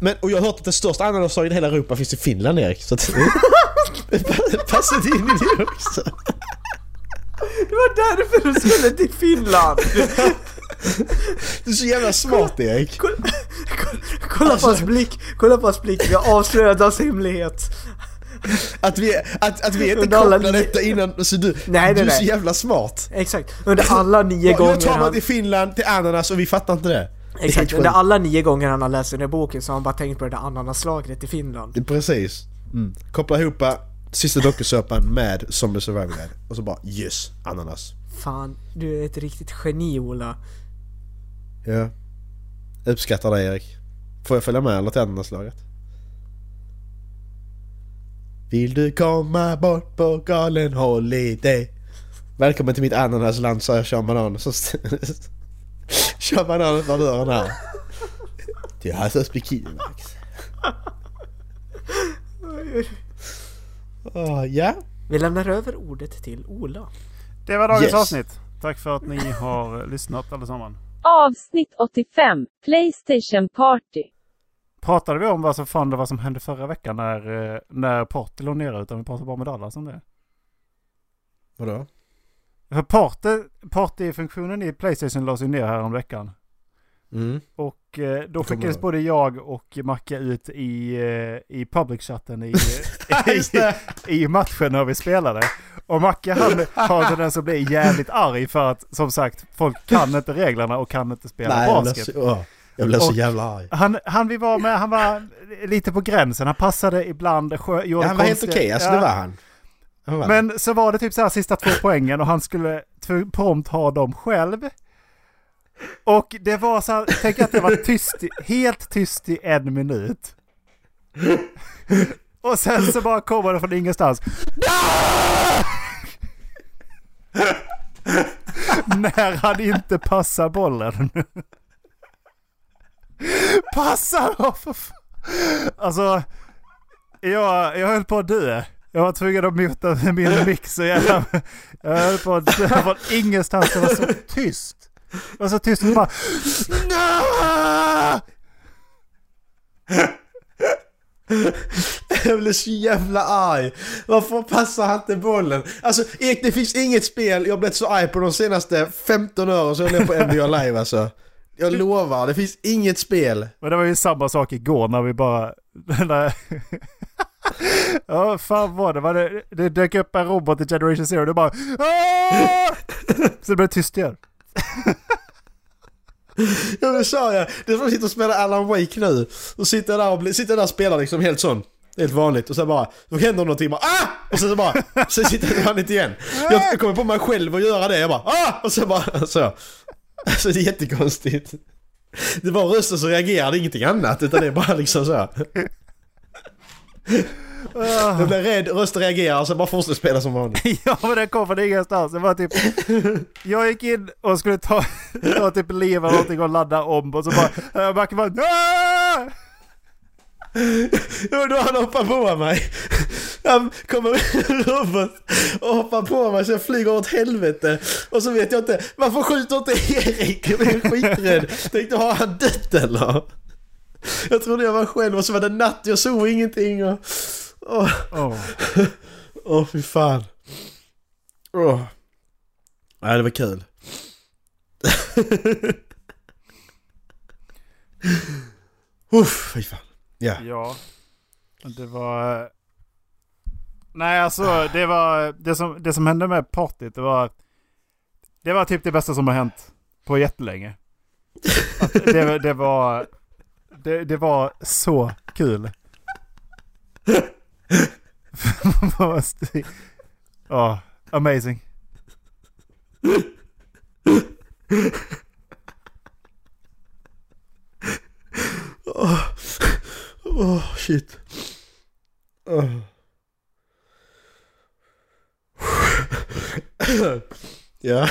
K: Men, och jag har hört att det största ananasdagen i hela Europa finns i Finland Erik. Så att, passar det in i det också?
G: Det var därför du skulle till Finland!
K: Du är så jävla smart Erik.
G: Kolla på
K: Alltså-
G: hans blick, kolla på hans blick, vi har avslöjat hans hemlighet.
K: Att vi, att, att vi inte
G: Under alla
K: kopplade
G: nio-
K: detta innan. Så du,
G: Nej,
K: du
G: nej,
K: är så
G: nej.
K: jävla smart.
G: Exakt, under alla nio
K: Ja, Nu
G: gånger
K: tar man
G: han...
K: till Finland, till ananas och vi fattar inte det. Det är helt
G: Exakt,
K: sjukt.
G: under alla nio gånger han har läst den här boken så har han bara tänkt på det där ananaslagret i Finland.
K: Det är Precis. Mm. Koppla ihop sista dokusåpan med Zombie Survival Guide. Och så bara yes, ananas.
G: Fan, du är ett riktigt geni Ola.
K: Ja. Uppskattar dig Erik. Får jag följa med eller till ananaslaget? Vill du komma bort på galen holiday? Välkommen till mitt ananasland sa jag Sean Banan. Så st- kör bananen för dörren här. Det är Hassas bikini Max. Åh, Ah, ja.
J: Vi lämnar över ordet till Ola.
B: Det var dagens
J: Yes.
B: avsnitt. Tack för att ni har lyssnat allesammans.
I: Avsnitt 85. Playstation Party.
B: Pratade vi om vad som fan det var som hände förra veckan när, eh, när Porte låg nere? Utan vi pratade bara med Dallas om det.
K: Vadå?
B: För Porte, Party-funktionen i Playstation lades ju ner häromveckan.
K: Mm.
B: Och eh, då
K: kommer
B: skickades
K: ihåg.
B: både jag och Macke ut i, eh, i public-chatten i, i, i matchen när vi spelade. Och Macke han har en tendens att bli jävligt arg för att som sagt folk kan inte reglerna och kan inte spela
K: Nej, jag blev
B: basket.
K: så, åh, jag blev så
B: Och-
K: jävla arg.
B: Han, han vi var med, han var lite på gränsen. Han passade ibland, sjö, gjorde
K: Ja, han var helt
B: konstiga-
K: okej, alltså det
B: Ja.
K: var han. Han var det.
B: Men så var det typ så här sista två poängen och han skulle tv- prompt ha dem själv. Och det var så här, tänk att det var tyst, i- helt tyst i en minut. Och sen så bara kommer det från ingenstans. När han inte passar bollen. Passa då för fan. Alltså, jag, jag höll på att dö. Jag var tvungen att muta min mix så jävla... Jag höll på att dö från ingenstans. Det var så tyst. Det var så tyst. Det bara...
K: Jag blev så jävla arg. Varför passar han inte bollen? Alltså Erik, det finns inget spel jag har blivit så arg på de senaste 15 åren så jag är på NBA Live alltså. Jag lovar, det finns inget spel.
B: Men det var ju samma sak igår när vi bara... När... Ja, fan var det? Var det? Det dök upp en robot i Generation Zero och det bara... "Aah!" Så det blev tyst igen.
K: Ja men sa jag, det är som att sitta och spela Alan Wake nu. Och sitter där och, bli- sitter där och spelar liksom helt sån. Helt vanligt. Och sen bara, då händer någonting bara ah! Och sen så bara, sen sitter han inte igen. Jag jag kommer på mig själv att göra det. Jag bara ah! Och sen bara så. Alltså det är jättekonstigt. Det var rösten som reagerade, ingenting annat. Utan det är bara liksom så. Jag blev rädd, rösten reagerar och sen bara fortsätter spela som vanligt.
B: Ja men den kom från ingenstans. Det var typ... Jag gick in och skulle ta, ta typ liv eller någonting och ladda om och så bara... Jag backade bara... "Aah!"
K: Ja, då han hoppar på mig. Han kommer Robert och hoppar på mig så jag flyger åt helvete. Och så vet jag inte, varför skjuter inte Erik? Jag blev skiträdd. Tänkte, har han dött eller? Jag trodde jag var själv och så var det natt, jag såg ingenting och... Åh,
B: oh.
K: fy fan. Åh. Nej, det var kul. Uff, fy fan. Ja.
B: Ja. Det var... Nej alltså det var... Det som, det som hände med partyt det var... Det var typ det bästa som har hänt på jättelänge. Att det, det var... Det, det var så kul. Ja, amazing.
K: Åh, åh, shit. Åh. ja.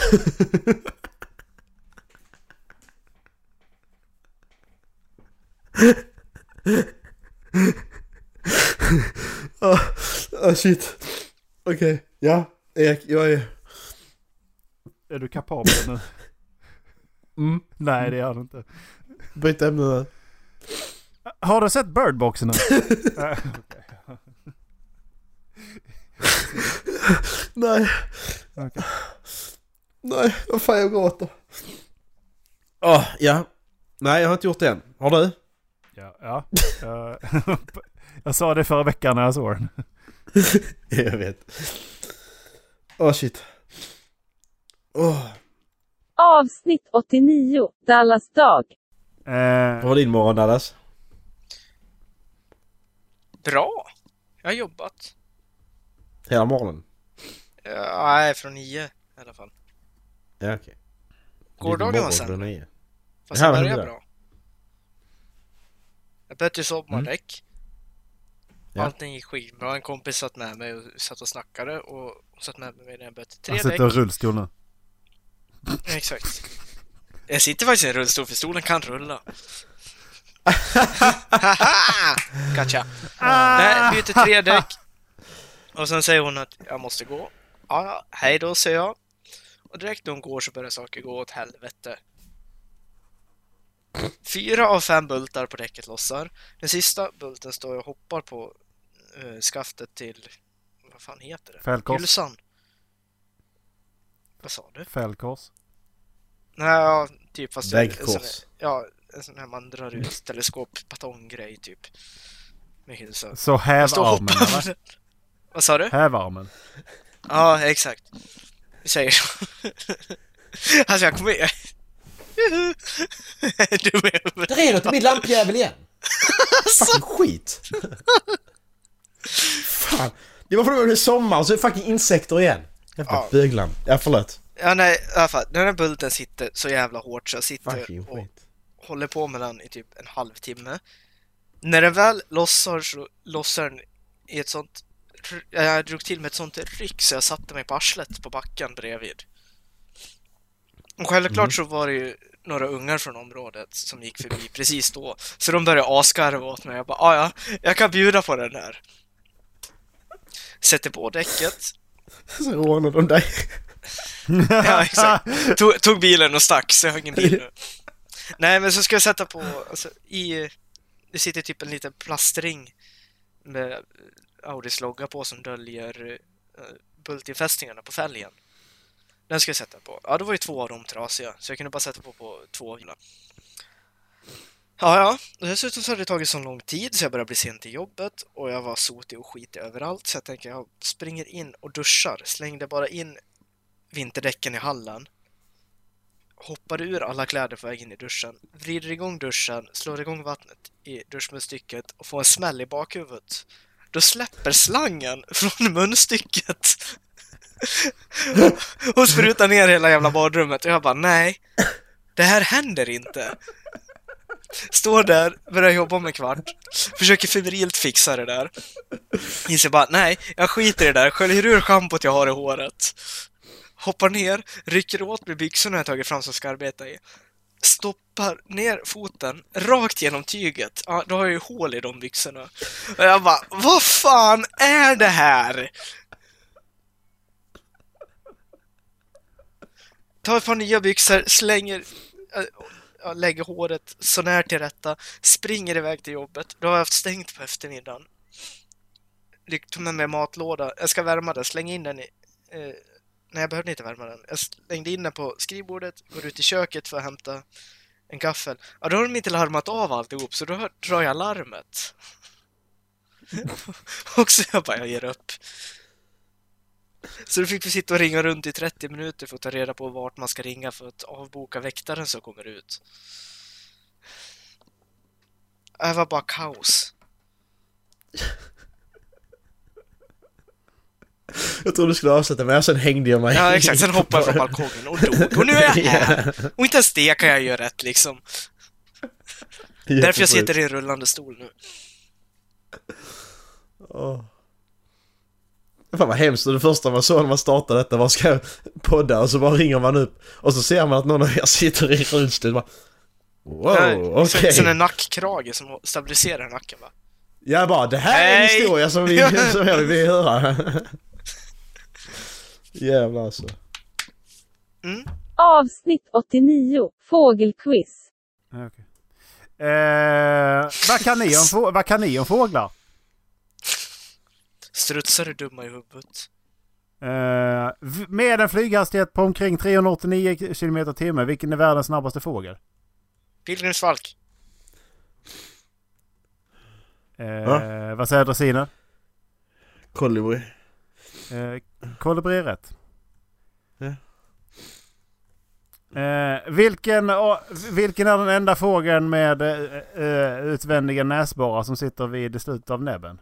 K: Åh, åh, shit. Okej, ja. Erik, jag är...
B: Är du kapabel nu? Mm. Nej det är han inte.
K: Byt ämne nu.
B: Har du sett Birdbox nu?
K: Nej. Nej, vad fan jag gråter. Åh, Ah, ja. Nej, jag har inte gjort det än. Har du?
B: Ja, ja. Jag, jag sa det förra veckan när jag såg den.
K: jag vet. Åh shit. Ah. Åh.
I: Avsnitt 89. Dallas dag.
B: Vad
K: var din morgon Dallas?
G: Bra! Jag har jobbat.
K: Hela morgonen?
G: Ja, Nej, från nio i alla fall.
K: Ja okej.
G: Gårdagen
K: Din
G: var
K: morgon
G: sämre.
K: klockan nio.
G: Fast
K: Det här
G: jag
K: var
G: började
K: hundra.
G: bra. Jag typ bytte sommardäck.
K: Mm. Ja.
G: Allting gick skitbra. En kompis satt med mig och satt och snackade och hon satt med mig när jag bytte tre
B: Han
G: däck.
B: sitter i rullstol nu.
G: Exakt. Jag sitter faktiskt i en rullstol för stolen kan rulla. Gotcha. Nej, byter tre däck. Och sen säger hon att jag måste gå. Ja, ja, hej då säger jag. Och direkt när hon går så börjar saker gå åt helvete. Fyra av fem bultar på däcket lossar. Den sista bulten står och hoppar på eh, skaftet till, vad fan heter det?
B: Fältkors.
G: Hylsan. Vad sa du?
B: Fällkors.
G: Nej, ja, typ fast... en
B: Väggkors.
G: sån här- Ja, en sån här man drar ut teleskopbatonggrej typ. Med hylsa.
B: Så häv
G: Den står och
B: armen,
G: hoppar.
B: eller?
G: Vad sa du?
B: Häv armen.
G: Ja, exakt. Vi säger så. Alltså jag kommer... Juhu. du med.
K: Där är något i min lampjävel igen! Fucking skit! Fan! Det var för att det blev sommar så är det fucking insekter igen. Jävla
G: Ja.
K: böglamm. Ja, förlåt.
G: Ja, nej, i alla fall. Den här bulten sitter så jävla hårt så jag
K: Fucking
G: sitter och håller på med den i typ en halvtimme. När den väl lossar så lossar den i ett sånt... Jag drog till med ett sånt ryck så jag satte mig på arslet på backen bredvid. Och självklart
O: Mm.
G: så var det ju några ungar från området som gick förbi precis då. Så de började askarva åt mig. Jag bara, "Ah, ja, jag kan bjuda på den här. Sätter på däcket,
K: Så rånar de dig.
G: ja, exakt. Tog, tog bilen och stack, så jag har ingen bil nu. Nej, men så ska jag sätta på, alltså, i, det sitter typ en liten plastring med Audis logga på som döljer uh, bultinfästningarna på fälgen. Den ska jag sätta på. Ja, då var ju två av dem trasiga, så jag kunde bara sätta på på två av dem. Ja, ja. Och Dessutom så hade det tagit så lång tid så jag började bli sen till jobbet och jag var sotig och skitig överallt så jag tänker jag springer in och duschar. Slängde bara in vinterdäcken i hallen. Hoppar ur alla kläder på vägen i duschen. Vrider igång duschen, slår igång vattnet i duschmunstycket och får en smäll i bakhuvudet. Då släpper slangen från munstycket och sprutar ner hela jävla badrummet och jag bara nej, det här händer inte. Står där, börjar jobba om en kvart, försöker febrilt fixa det där. Inser bara, nej, jag skiter i det där, sköljer ur schampot jag har i håret. Hoppar ner, rycker åt mig byxorna jag tagit fram som ska arbeta i. Stoppar ner foten rakt genom tyget. Ja, då har jag ju hål i de byxorna. Och jag bara, vad fan är det här? Tar ett par nya byxor, slänger, äh, ja, lägger håret så när till rätta, springer iväg till jobbet. Då har jag haft stängt på eftermiddagen. Lyck- Tog med mig matlåda, jag ska värma den, släng in den i... Eh, nej, jag behövde inte värma den. Jag slängde in den på skrivbordet, går ut i köket för att hämta en gaffel. Ja, då har de inte larmat av alltihop, så då hör- drar jag larmet. och så jag bara, jag ger upp. Så då fick vi sitta och ringa runt i 30 minuter för att ta reda på vart man ska ringa för att avboka väktaren som kommer ut. Det var bara kaos.
K: Jag trodde du skulle avsluta men sen hängde jag mig.
G: Ja, exakt. Sen hoppade jag från balkongen och dog. Och nu är jag här! Och inte ens det kan jag göra rätt liksom. Därför jag sitter i en rullande stol nu.
K: Åh. Fan vad hemskt, Och det första man såg när man startade detta var ska jag podda och så bara ringer man upp och så ser man att någon av er sitter i rullstol bara Wow,
G: Ja, så-
K: okej.
G: Sen en nackkrage som stabiliserar nacken va?
K: Jag bara det här är en
G: Nej.
K: historia som vi, som jag vill höra. Jävlar alltså.
I: Avsnitt 89, fågelquiz.
B: Eh, vad, kan ni om, få- vad kan ni om fåglar?
G: Strutsar är dumma i huvudet.
B: Eh, v- med en flyghastighet på omkring 389 km timme, vilken är världens snabbaste fågel?
G: Pilgrimsfalk.
B: Eh,
K: Ja.
B: Vad säger dressinen?
K: Kolibri.
B: Eh, kolibri är rätt.
K: Ja.
B: Eh, vilken, å- vilken är den enda fågeln med eh, eh, utvändiga näsborrar som sitter vid slutet av näbben?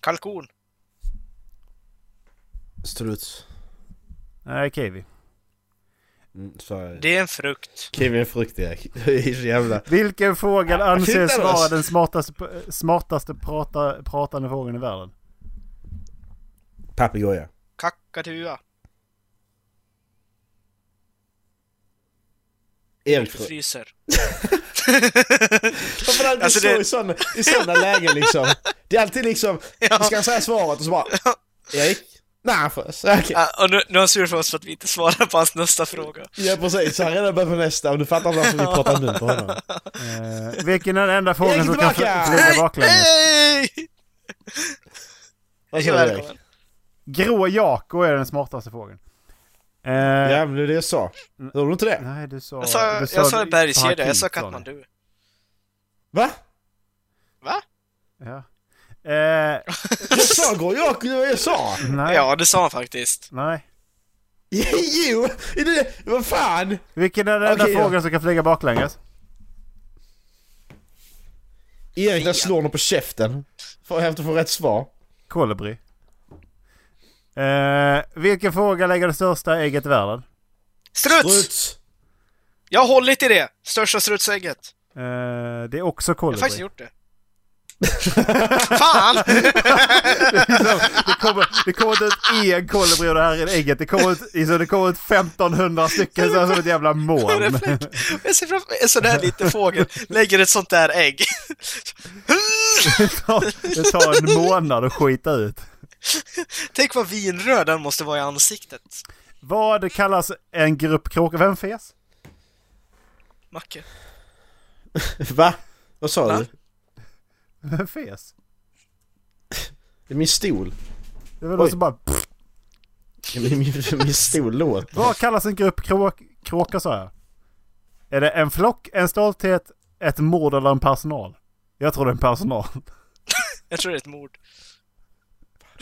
G: Kalkon.
K: Struts.
B: Nej, kiwi.
K: Mm, så-
G: Det är en frukt.
K: Kiwi är en frukt ja. Det är så jävla...
B: Vilken fågel anses
K: hittar oss.
B: vara den smartaste, p- smartaste prata, pratande fågeln i världen?
K: Papegoja.
G: Kakatua. Erik fryser.
K: Framförallt
G: Alltså,
K: alltså
G: det-
K: i sådana, i sådana lägen liksom. Det är alltid liksom, ska han säga svaret och så bara, Erik? Nej, får jag säga, okej.
G: Ja, och nu, nu är han sur för oss för att vi inte svarar på hans nästa fråga.
K: Ja precis, han redan börjat på nästa och du fattar varför vi pratar mun på honom.
B: Eh, vilken är den enda frågan som kan
K: tillbaka!
B: fl- flyga baklänges?
G: Hej!
K: Vad sa du Erik?
G: Välkommen.
B: Grå Jako är den smartaste frågan. Eh,
K: Ja men det är det jag sa. Hörde du inte det?
B: Nej du sa...
G: Jag sa,
B: du
G: jag sa bergskedja, jag
B: Hakit,
G: sa
B: du.
G: Katmandu.
K: Va?
B: Ja. Eh,
K: Jag sa Gojaki, det var det jag sa!
G: Ja, det sa han faktiskt.
B: Nej.
K: Jo! är det- Vad fan!
B: Vilken är den enda
K: Okej, ja.
B: frågan som kan flyga baklänges?
K: Erik där slår honom på käften. För att få rätt svar.
B: Kolibri. Eh, vilken fråga lägger det största ägget i världen?
G: Struts! Jag har hållit i det! Största strutsägget.
B: Eh, det är också
G: Jag har
B: kolibri.
G: faktiskt gjort det. Fan!
B: det, kommer, det kommer inte ett en kolibri och det här är ägget. Det kommer ut, liksom, det kommer ut 1500 stycken så här som ett jävla moln.
G: Jag ser framför mig en sån här liten fågel, lägger ett sånt där ägg.
B: Det tar- det tar en månad att skita ut.
G: Tänk vad vinröd den måste vara i ansiktet.
B: Vad kallas en grupp kråkor? Vem fes?
G: Macke.
K: Va? Vad sa
G: Va?
K: du?
B: Vem fes?
K: Det är min stol.
B: Det var någon som bara...
K: Det är min, min stol låt.
B: Vad kallas en grupp kråk, kråkor sa jag? Är det en flock, en stolthet, ett mord eller en personal? Jag tror det är en personal.
G: Jag tror det är ett mord.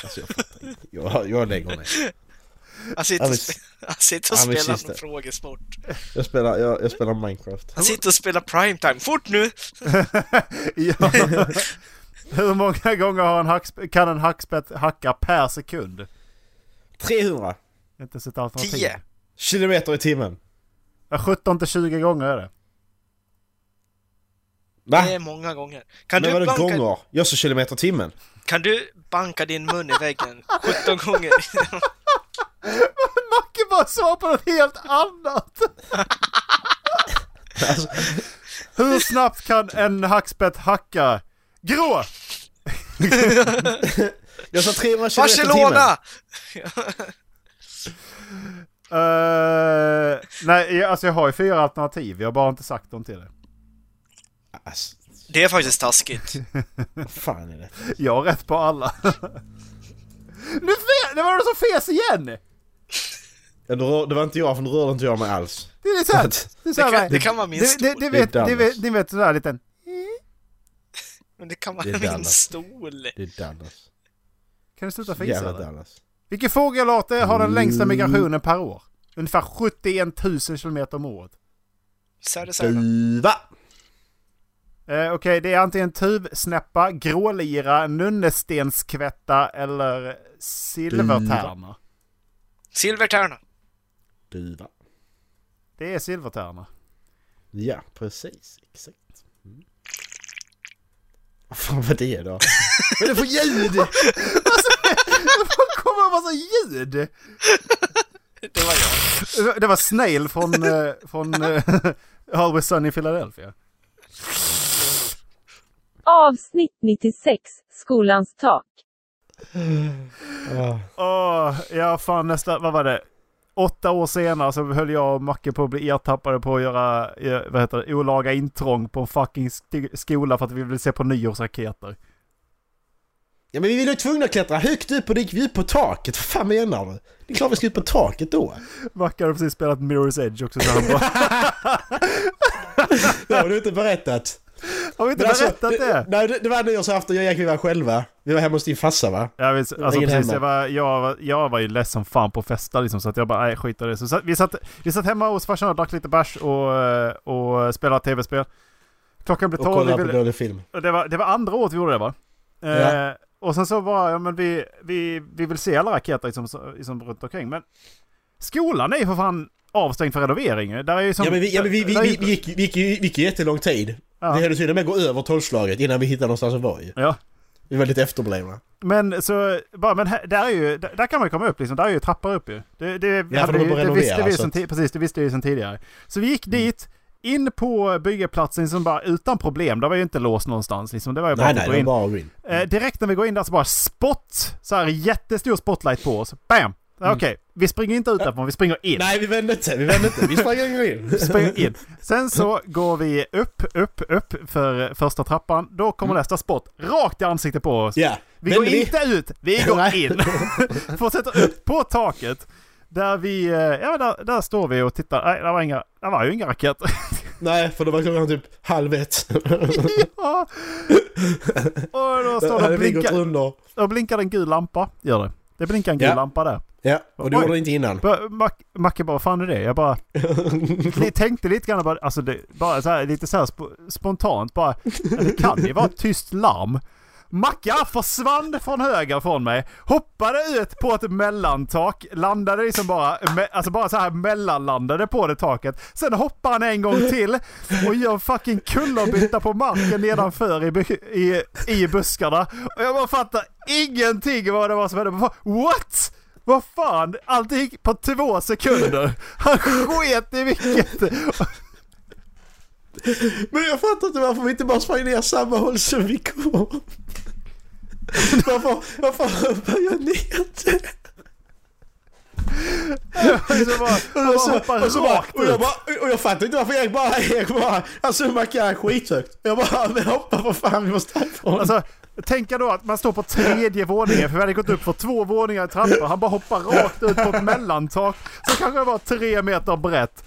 K: Alltså jag fattar inte. Jag, jag lägger mig.
G: Han sitter, och
K: men-
G: spe- han sitter och
K: ja, men
G: spelar
K: sista.
G: någon frågesport.
K: Jag spelar, jag, jag spelar Minecraft.
G: Han sitter och spelar primetime. Fort nu!
B: ja. Hur många gånger har en hacksp- kan en hackspett hacka per sekund?
K: 300
B: Inte ens ett alternativ.
G: Tio.
K: kilometer i timmen.
B: Ja, 17 till 20 gånger är det.
K: Va?
G: Det är många gånger. Kan
K: Men
G: Eh, du,
K: vadå
G: banka,
K: gånger? Jag sa kilometer i timmen.
G: kan du banka din mun i väggen 17 gånger?
B: Macke bara sa på något helt annat! Hur snabbt kan en hackspett hacka? Grå!
K: Jag sa 300 kilometer i timmen.
G: Barcelona!
B: Eh, nej, jag- alltså jag har ju fyra alternativ. Jag har bara inte sagt dem till dig.
K: Alltså,
G: Det är faktiskt taskigt.
K: vad fan är det?
B: Jag har rätt på alla. nu fe- det var någon som fes igen!
K: Ja, du rör, det var inte jag, för nu rörde inte jag mig alls.
B: Det är sant! Det, är så här,
G: Det kan-
B: va?
G: det kan vara min
B: det, det,
G: stol.
B: det,
K: Det är
B: vet, det
K: Dallas.
B: vet, Ni vet sådär liten...
G: Men det kan
K: Det är
G: vara min
K: Dallas.
G: stol.
K: Det är Dallas.
B: Kan du sluta fisa
K: Jävla
B: eller?
K: Dallas.
B: Vilken fågelart är- har den längsta migrationen per år? Ungefär 71 000 kilometer om året.
G: Säre, säre.
K: Duva!
B: Eh, Okej, det är antingen tuvsnäppa, grålira, nunnestenskvätta eller silvertärna.
G: Silvertärna.
K: Duva.
B: Det är silvertärna.
K: Ja, precis. Exakt. Mm. Vad fan var det då? Vad är det för ljud?
B: Var kommer en massa ljud?
G: Det var jag.
B: Det var Snail från, eh, från eh, Always Sunny in Philadelphia.
I: Avsnitt 96, skolans tak.
B: Åh, ja fan nästa, vad var det? Åtta år senare så höll jag och Macke på att bli ertappade på att göra, eh, vad heter det, olaga intrång på en fucking sk- skola för att vi ville se på nyårsraketer.
K: Ja men vi var ju tvungna att klättra högt upp och det gick vi upp på taket. Vad fan menar du? Det är klart vi ska upp på taket då.
B: Macke hade precis spelat Mirror's Edge också så han bara,
K: Det har du inte berättat.
B: har vi inte
K: Men alltså,
B: berättat det?
K: Nej, det, det var nyårsafton, jag och Jack vi var själva. Vi var hemma hos din farsa va?
B: Ja, visst, alltså
K: Ingen
B: precis,
K: hemma.
B: jag var, jag, var, jag var ju ledsen som fan på att festa liksom, så att jag bara, nej skit i det. Så satt, vi, satt, vi satt hemma hos farsan och drack lite bärs och, eh, och spelade tv-spel. Klockan blev
K: Och
B: tolv, vi
K: kollade på
B: ville,
K: dålig film.
B: och det, var, det var andra året vi gjorde det va? Eh,
K: Ja.
B: Och sen så bara, ja men vi, vi, vi vill se alla raketer liksom, så- liksom runt omkring, men skolan är ju för fan avstängd för renovering. Där är ju som,
K: Ja men vi, ja, men vi, vi,
B: där är ju-
K: vi, vi, gick, vi, gick, ju- vi gick ju jättelång tid.
B: Ja.
K: Vi hade till och med gå över tolvslaget innan vi hittade någonstans att vara ju.
B: Ja.
K: Vi var lite efterblivna.
B: Men så, bara, men här, där, är ju, där, där kan man ju komma upp liksom, där är ju trappor upp ju. Det, det,
K: för
B: hade
K: de
B: ju-
K: får
B: det
K: renovera,
B: visste vi ju
K: så
B: sen,
K: att- Mm.
B: ti- precis, det visste vi ju sen tidigare. Så vi gick dit, in på byggeplatsen som bara utan problem. Det var ju inte låst någonstans liksom. Det var ju bara
K: Nej,
B: att
K: nej,
B: gå
K: det var
B: in.
K: bara att gå in.
B: Eh, direkt när vi går in där så bara spot! Så här jättestor spotlight på oss. Bam! Ja, Okej, vi springer inte ut därifrån, vi springer in.
K: Mm. Nej, vi vände inte, vi vände inte. Vi sprang in.
B: Vi springer in. Sen så går vi upp, upp, upp för första trappan. Då kommer nästa spot rakt i ansiktet på oss.
K: Mm. Ja.
B: Vi
K: Vänder
B: går
K: vi?
B: inte ut, vi går in. Fortsätter upp på taket. Där vi, eh, ja där, där står vi och tittar. Nej, där var, inga, där var ju inga raketer.
K: Nej, för det var klockan typ halv ett.
B: ja. Och då står det
K: Hade vi
B: och blinkar.
K: gått under?
B: Då blinkar det en gul lampa, gör det. Det blinkar en gul
K: Ja.
B: lampa där.
K: Ja, och det
B: Oj.
K: gjorde det inte innan.
B: Ba- Mac- Macke bara, vad fan är det? Jag bara... Ni tänkte lite grann bara, alltså det, bara så här, lite så här sp- spontant bara, "Ja, det kan ju vara ett tyst larm. Macka försvann från höger från mig, hoppade ut på ett mellantak, landade liksom bara, me, alltså bara så här mellanlandade på det taket. Sen hoppar han en gång till och gör fucking kullerbytta på marken nedanför i, bu- i, i buskarna. Och jag bara fattar ingenting vad det var som hände. Vad fan- What? Vad fan? Allt gick på två sekunder. Han sket i vilket.
K: Men jag fattar inte varför vi inte bara sprang ner samma håll som vi kom. Varför, varför hoppar jag ner det?
B: han bara hoppar
K: och, så bara,
B: rakt
K: och, jag
B: ut.
K: bara, och jag fattar inte varför Erik bara, Erik bara, han summar är skithögt. Jag bara, men hoppa för fan vi måste härifrån.
B: Alltså, tänka då att man står på tredje våningen för vi hade gått upp för två våningar i trappor. Han bara hoppar rakt ut på ett mellantak som kanske det var tre meter brett.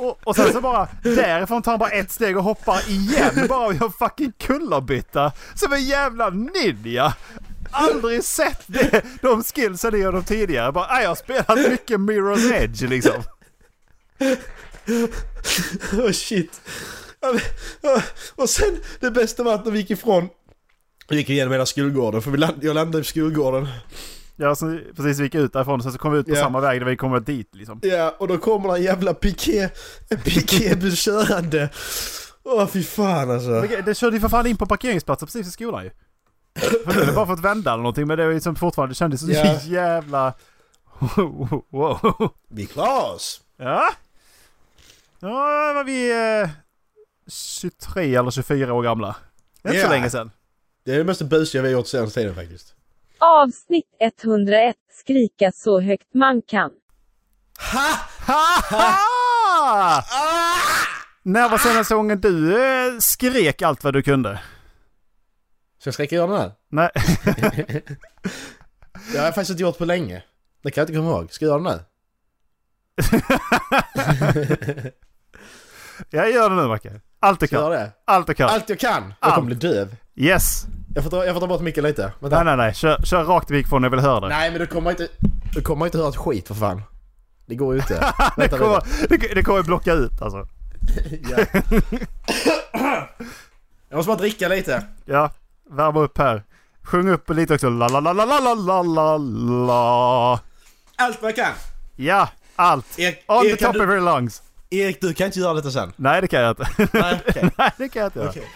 B: Och, och sen så bara därifrån tar han bara ett steg och hoppar igen bara och gör fucking kullerbytta. Som en jävla ninja! Aldrig sett det, de skillsen i honom tidigare. Bara, "Nej, jag har spelat mycket Mirror's Edge liksom.
K: oh, shit. Ja, men, ja, Och sen, det bästa var att när vi gick ifrån, vi gick igenom hela skolgården, för vi land, jag landade i skolgården.
B: Ja, så precis vi gick ut därifrån sen så kom vi ut på
K: Ja.
B: samma väg där vi kommer dit liksom.
K: Ja, och då kommer det en jävla piké, en pikébuss körande. Åh fy fan alltså.
B: Men Det körde ju för fan in på parkeringsplatsen precis vid skolan ju. För nu har det bara fått vända eller någonting men det är liksom fortfarande, det kändes så
K: Ja.
B: jävla... wow.
K: Vi klarar oss.
B: Ja. Ja, var vi eh, 23 eller 24 år gamla. Det är inte
K: Ja.
B: så länge sedan.
K: Det är det mest busiga vi har gjort senaste tiden faktiskt.
I: Avsnitt 101. Skrika så högt man kan.
B: Ah! När var senaste gången du eh, skrek allt vad du kunde?
K: Ska jag skrika göra den här?
B: Nej.
K: Det har jag faktiskt inte gjort på länge. Det kan jag inte komma ihåg. Ska jag göra den här?
B: Jag gör det nu Macke. Allt du
K: Ska jag
B: kan.
K: göra det?
B: Allt du kan.
K: Allt jag kan! Jag kommer bli döv.
B: Yes.
K: Jag får, dra, jag får ta bort micken lite. Vänta.
B: Nej, nej, nej. Kör, kör rakt i mikrofonen, jag vill höra det.
K: Nej men du kommer inte... Du kommer inte höra ett skit för fan. Det går ju inte.
B: det,
K: Vänta lite.
B: kommer, det, det kommer blocka ut alltså.
K: Ja. Jag måste bara dricka lite.
B: Ja, värma upp här. Sjung upp lite också. La, la, la, la, la, la, la, la, la.
K: Allt vad jag kan.
B: Ja, allt.
K: Erik-
B: On
K: Erik,
B: the
K: kan
B: top
K: du-
B: of your lungs.
K: Erik du kan inte göra detta sen.
B: Nej, det kan jag inte.
K: Nej okej.
B: Nej, det kan jag inte göra.
K: Okej.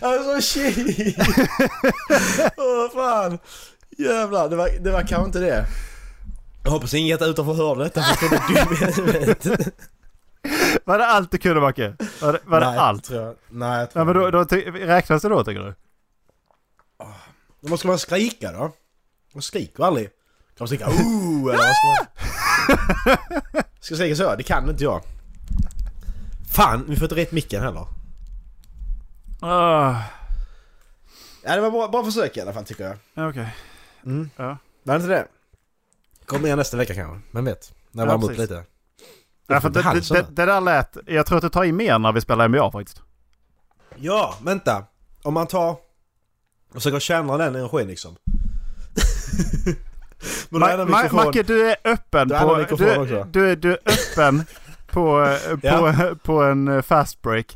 K: Alltså shit! Åh fan! Jävlar, det var, det var kanske inte det. Jag hoppas inget utanför hör detta för det är dum
B: Var det allt du kunde, Macke? Var det, var det
K: Nej,
B: allt?
K: Tror jag, nej, jag tror
B: Ja, men då, då ty- räknas det då, tycker du?
K: Då måste man skrika då. Man skriker aldrig. Kan man skrika oh eller vad ska man... Ska jag skrika så? Det kan inte jag. Fan, vi får inte rätt micken heller.
B: Ah,
K: Ja, det var bra, bra försök i alla fall tycker jag.
B: ja, Okej.
K: Mm.
B: Ja.
K: Var det inte det? Kommer igen nästa vecka kanske, vem vet? När jag
B: Ja,
K: värmer upp
B: precis.
K: lite.
B: Ja, för det, det, det, det där lät... Jag tror att du tar i mer när vi spelar NBA faktiskt.
K: Ja, vänta. Om man tar och försöker känna den energin liksom. Men då är
B: Ma-
K: den
B: Ma-
K: mikrofon-
B: Macke, du är öppen
K: Då är det
B: på...
K: mikrofon
B: Du,
K: också.
B: du, är- du är öppen på, eh, på, på en eh, fast break.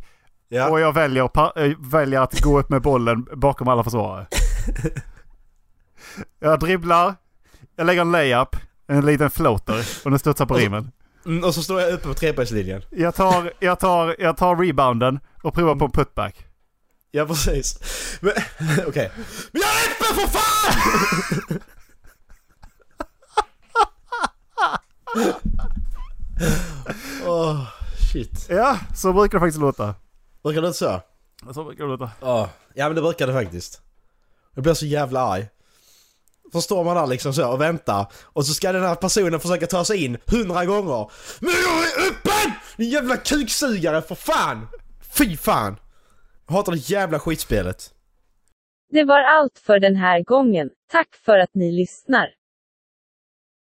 B: Och jag väljer, pa- eh, väljer att gå upp med bollen bakom alla försvarare. jag dribblar, jag lägger en layup, en liten floater och den studsar på
K: Och så-
B: rimmen.
K: Mm, och så står jag uppe på trepoängslinjen.
B: Jag tar, jag, tar, jag tar rebounden och provar på en putback.
K: Ja precis. Men okej. Men jag är öppen för fan! Åh, shit.
B: Ja, så brukar det faktiskt låta.
K: Brukar det inte så?
B: Så brukar det låta.
K: Ja, ja men det brukar det faktiskt. Jag blir så jävla arg. Förstår man där liksom så och väntar och så ska den här personen försöka ta sig in hundra gånger. Men jag är öppen! Din jävla kuksugare för fan! Fy fan! Jag hatar det jävla skitspelet.
I: Det var allt för den här gången. Tack för att ni lyssnar.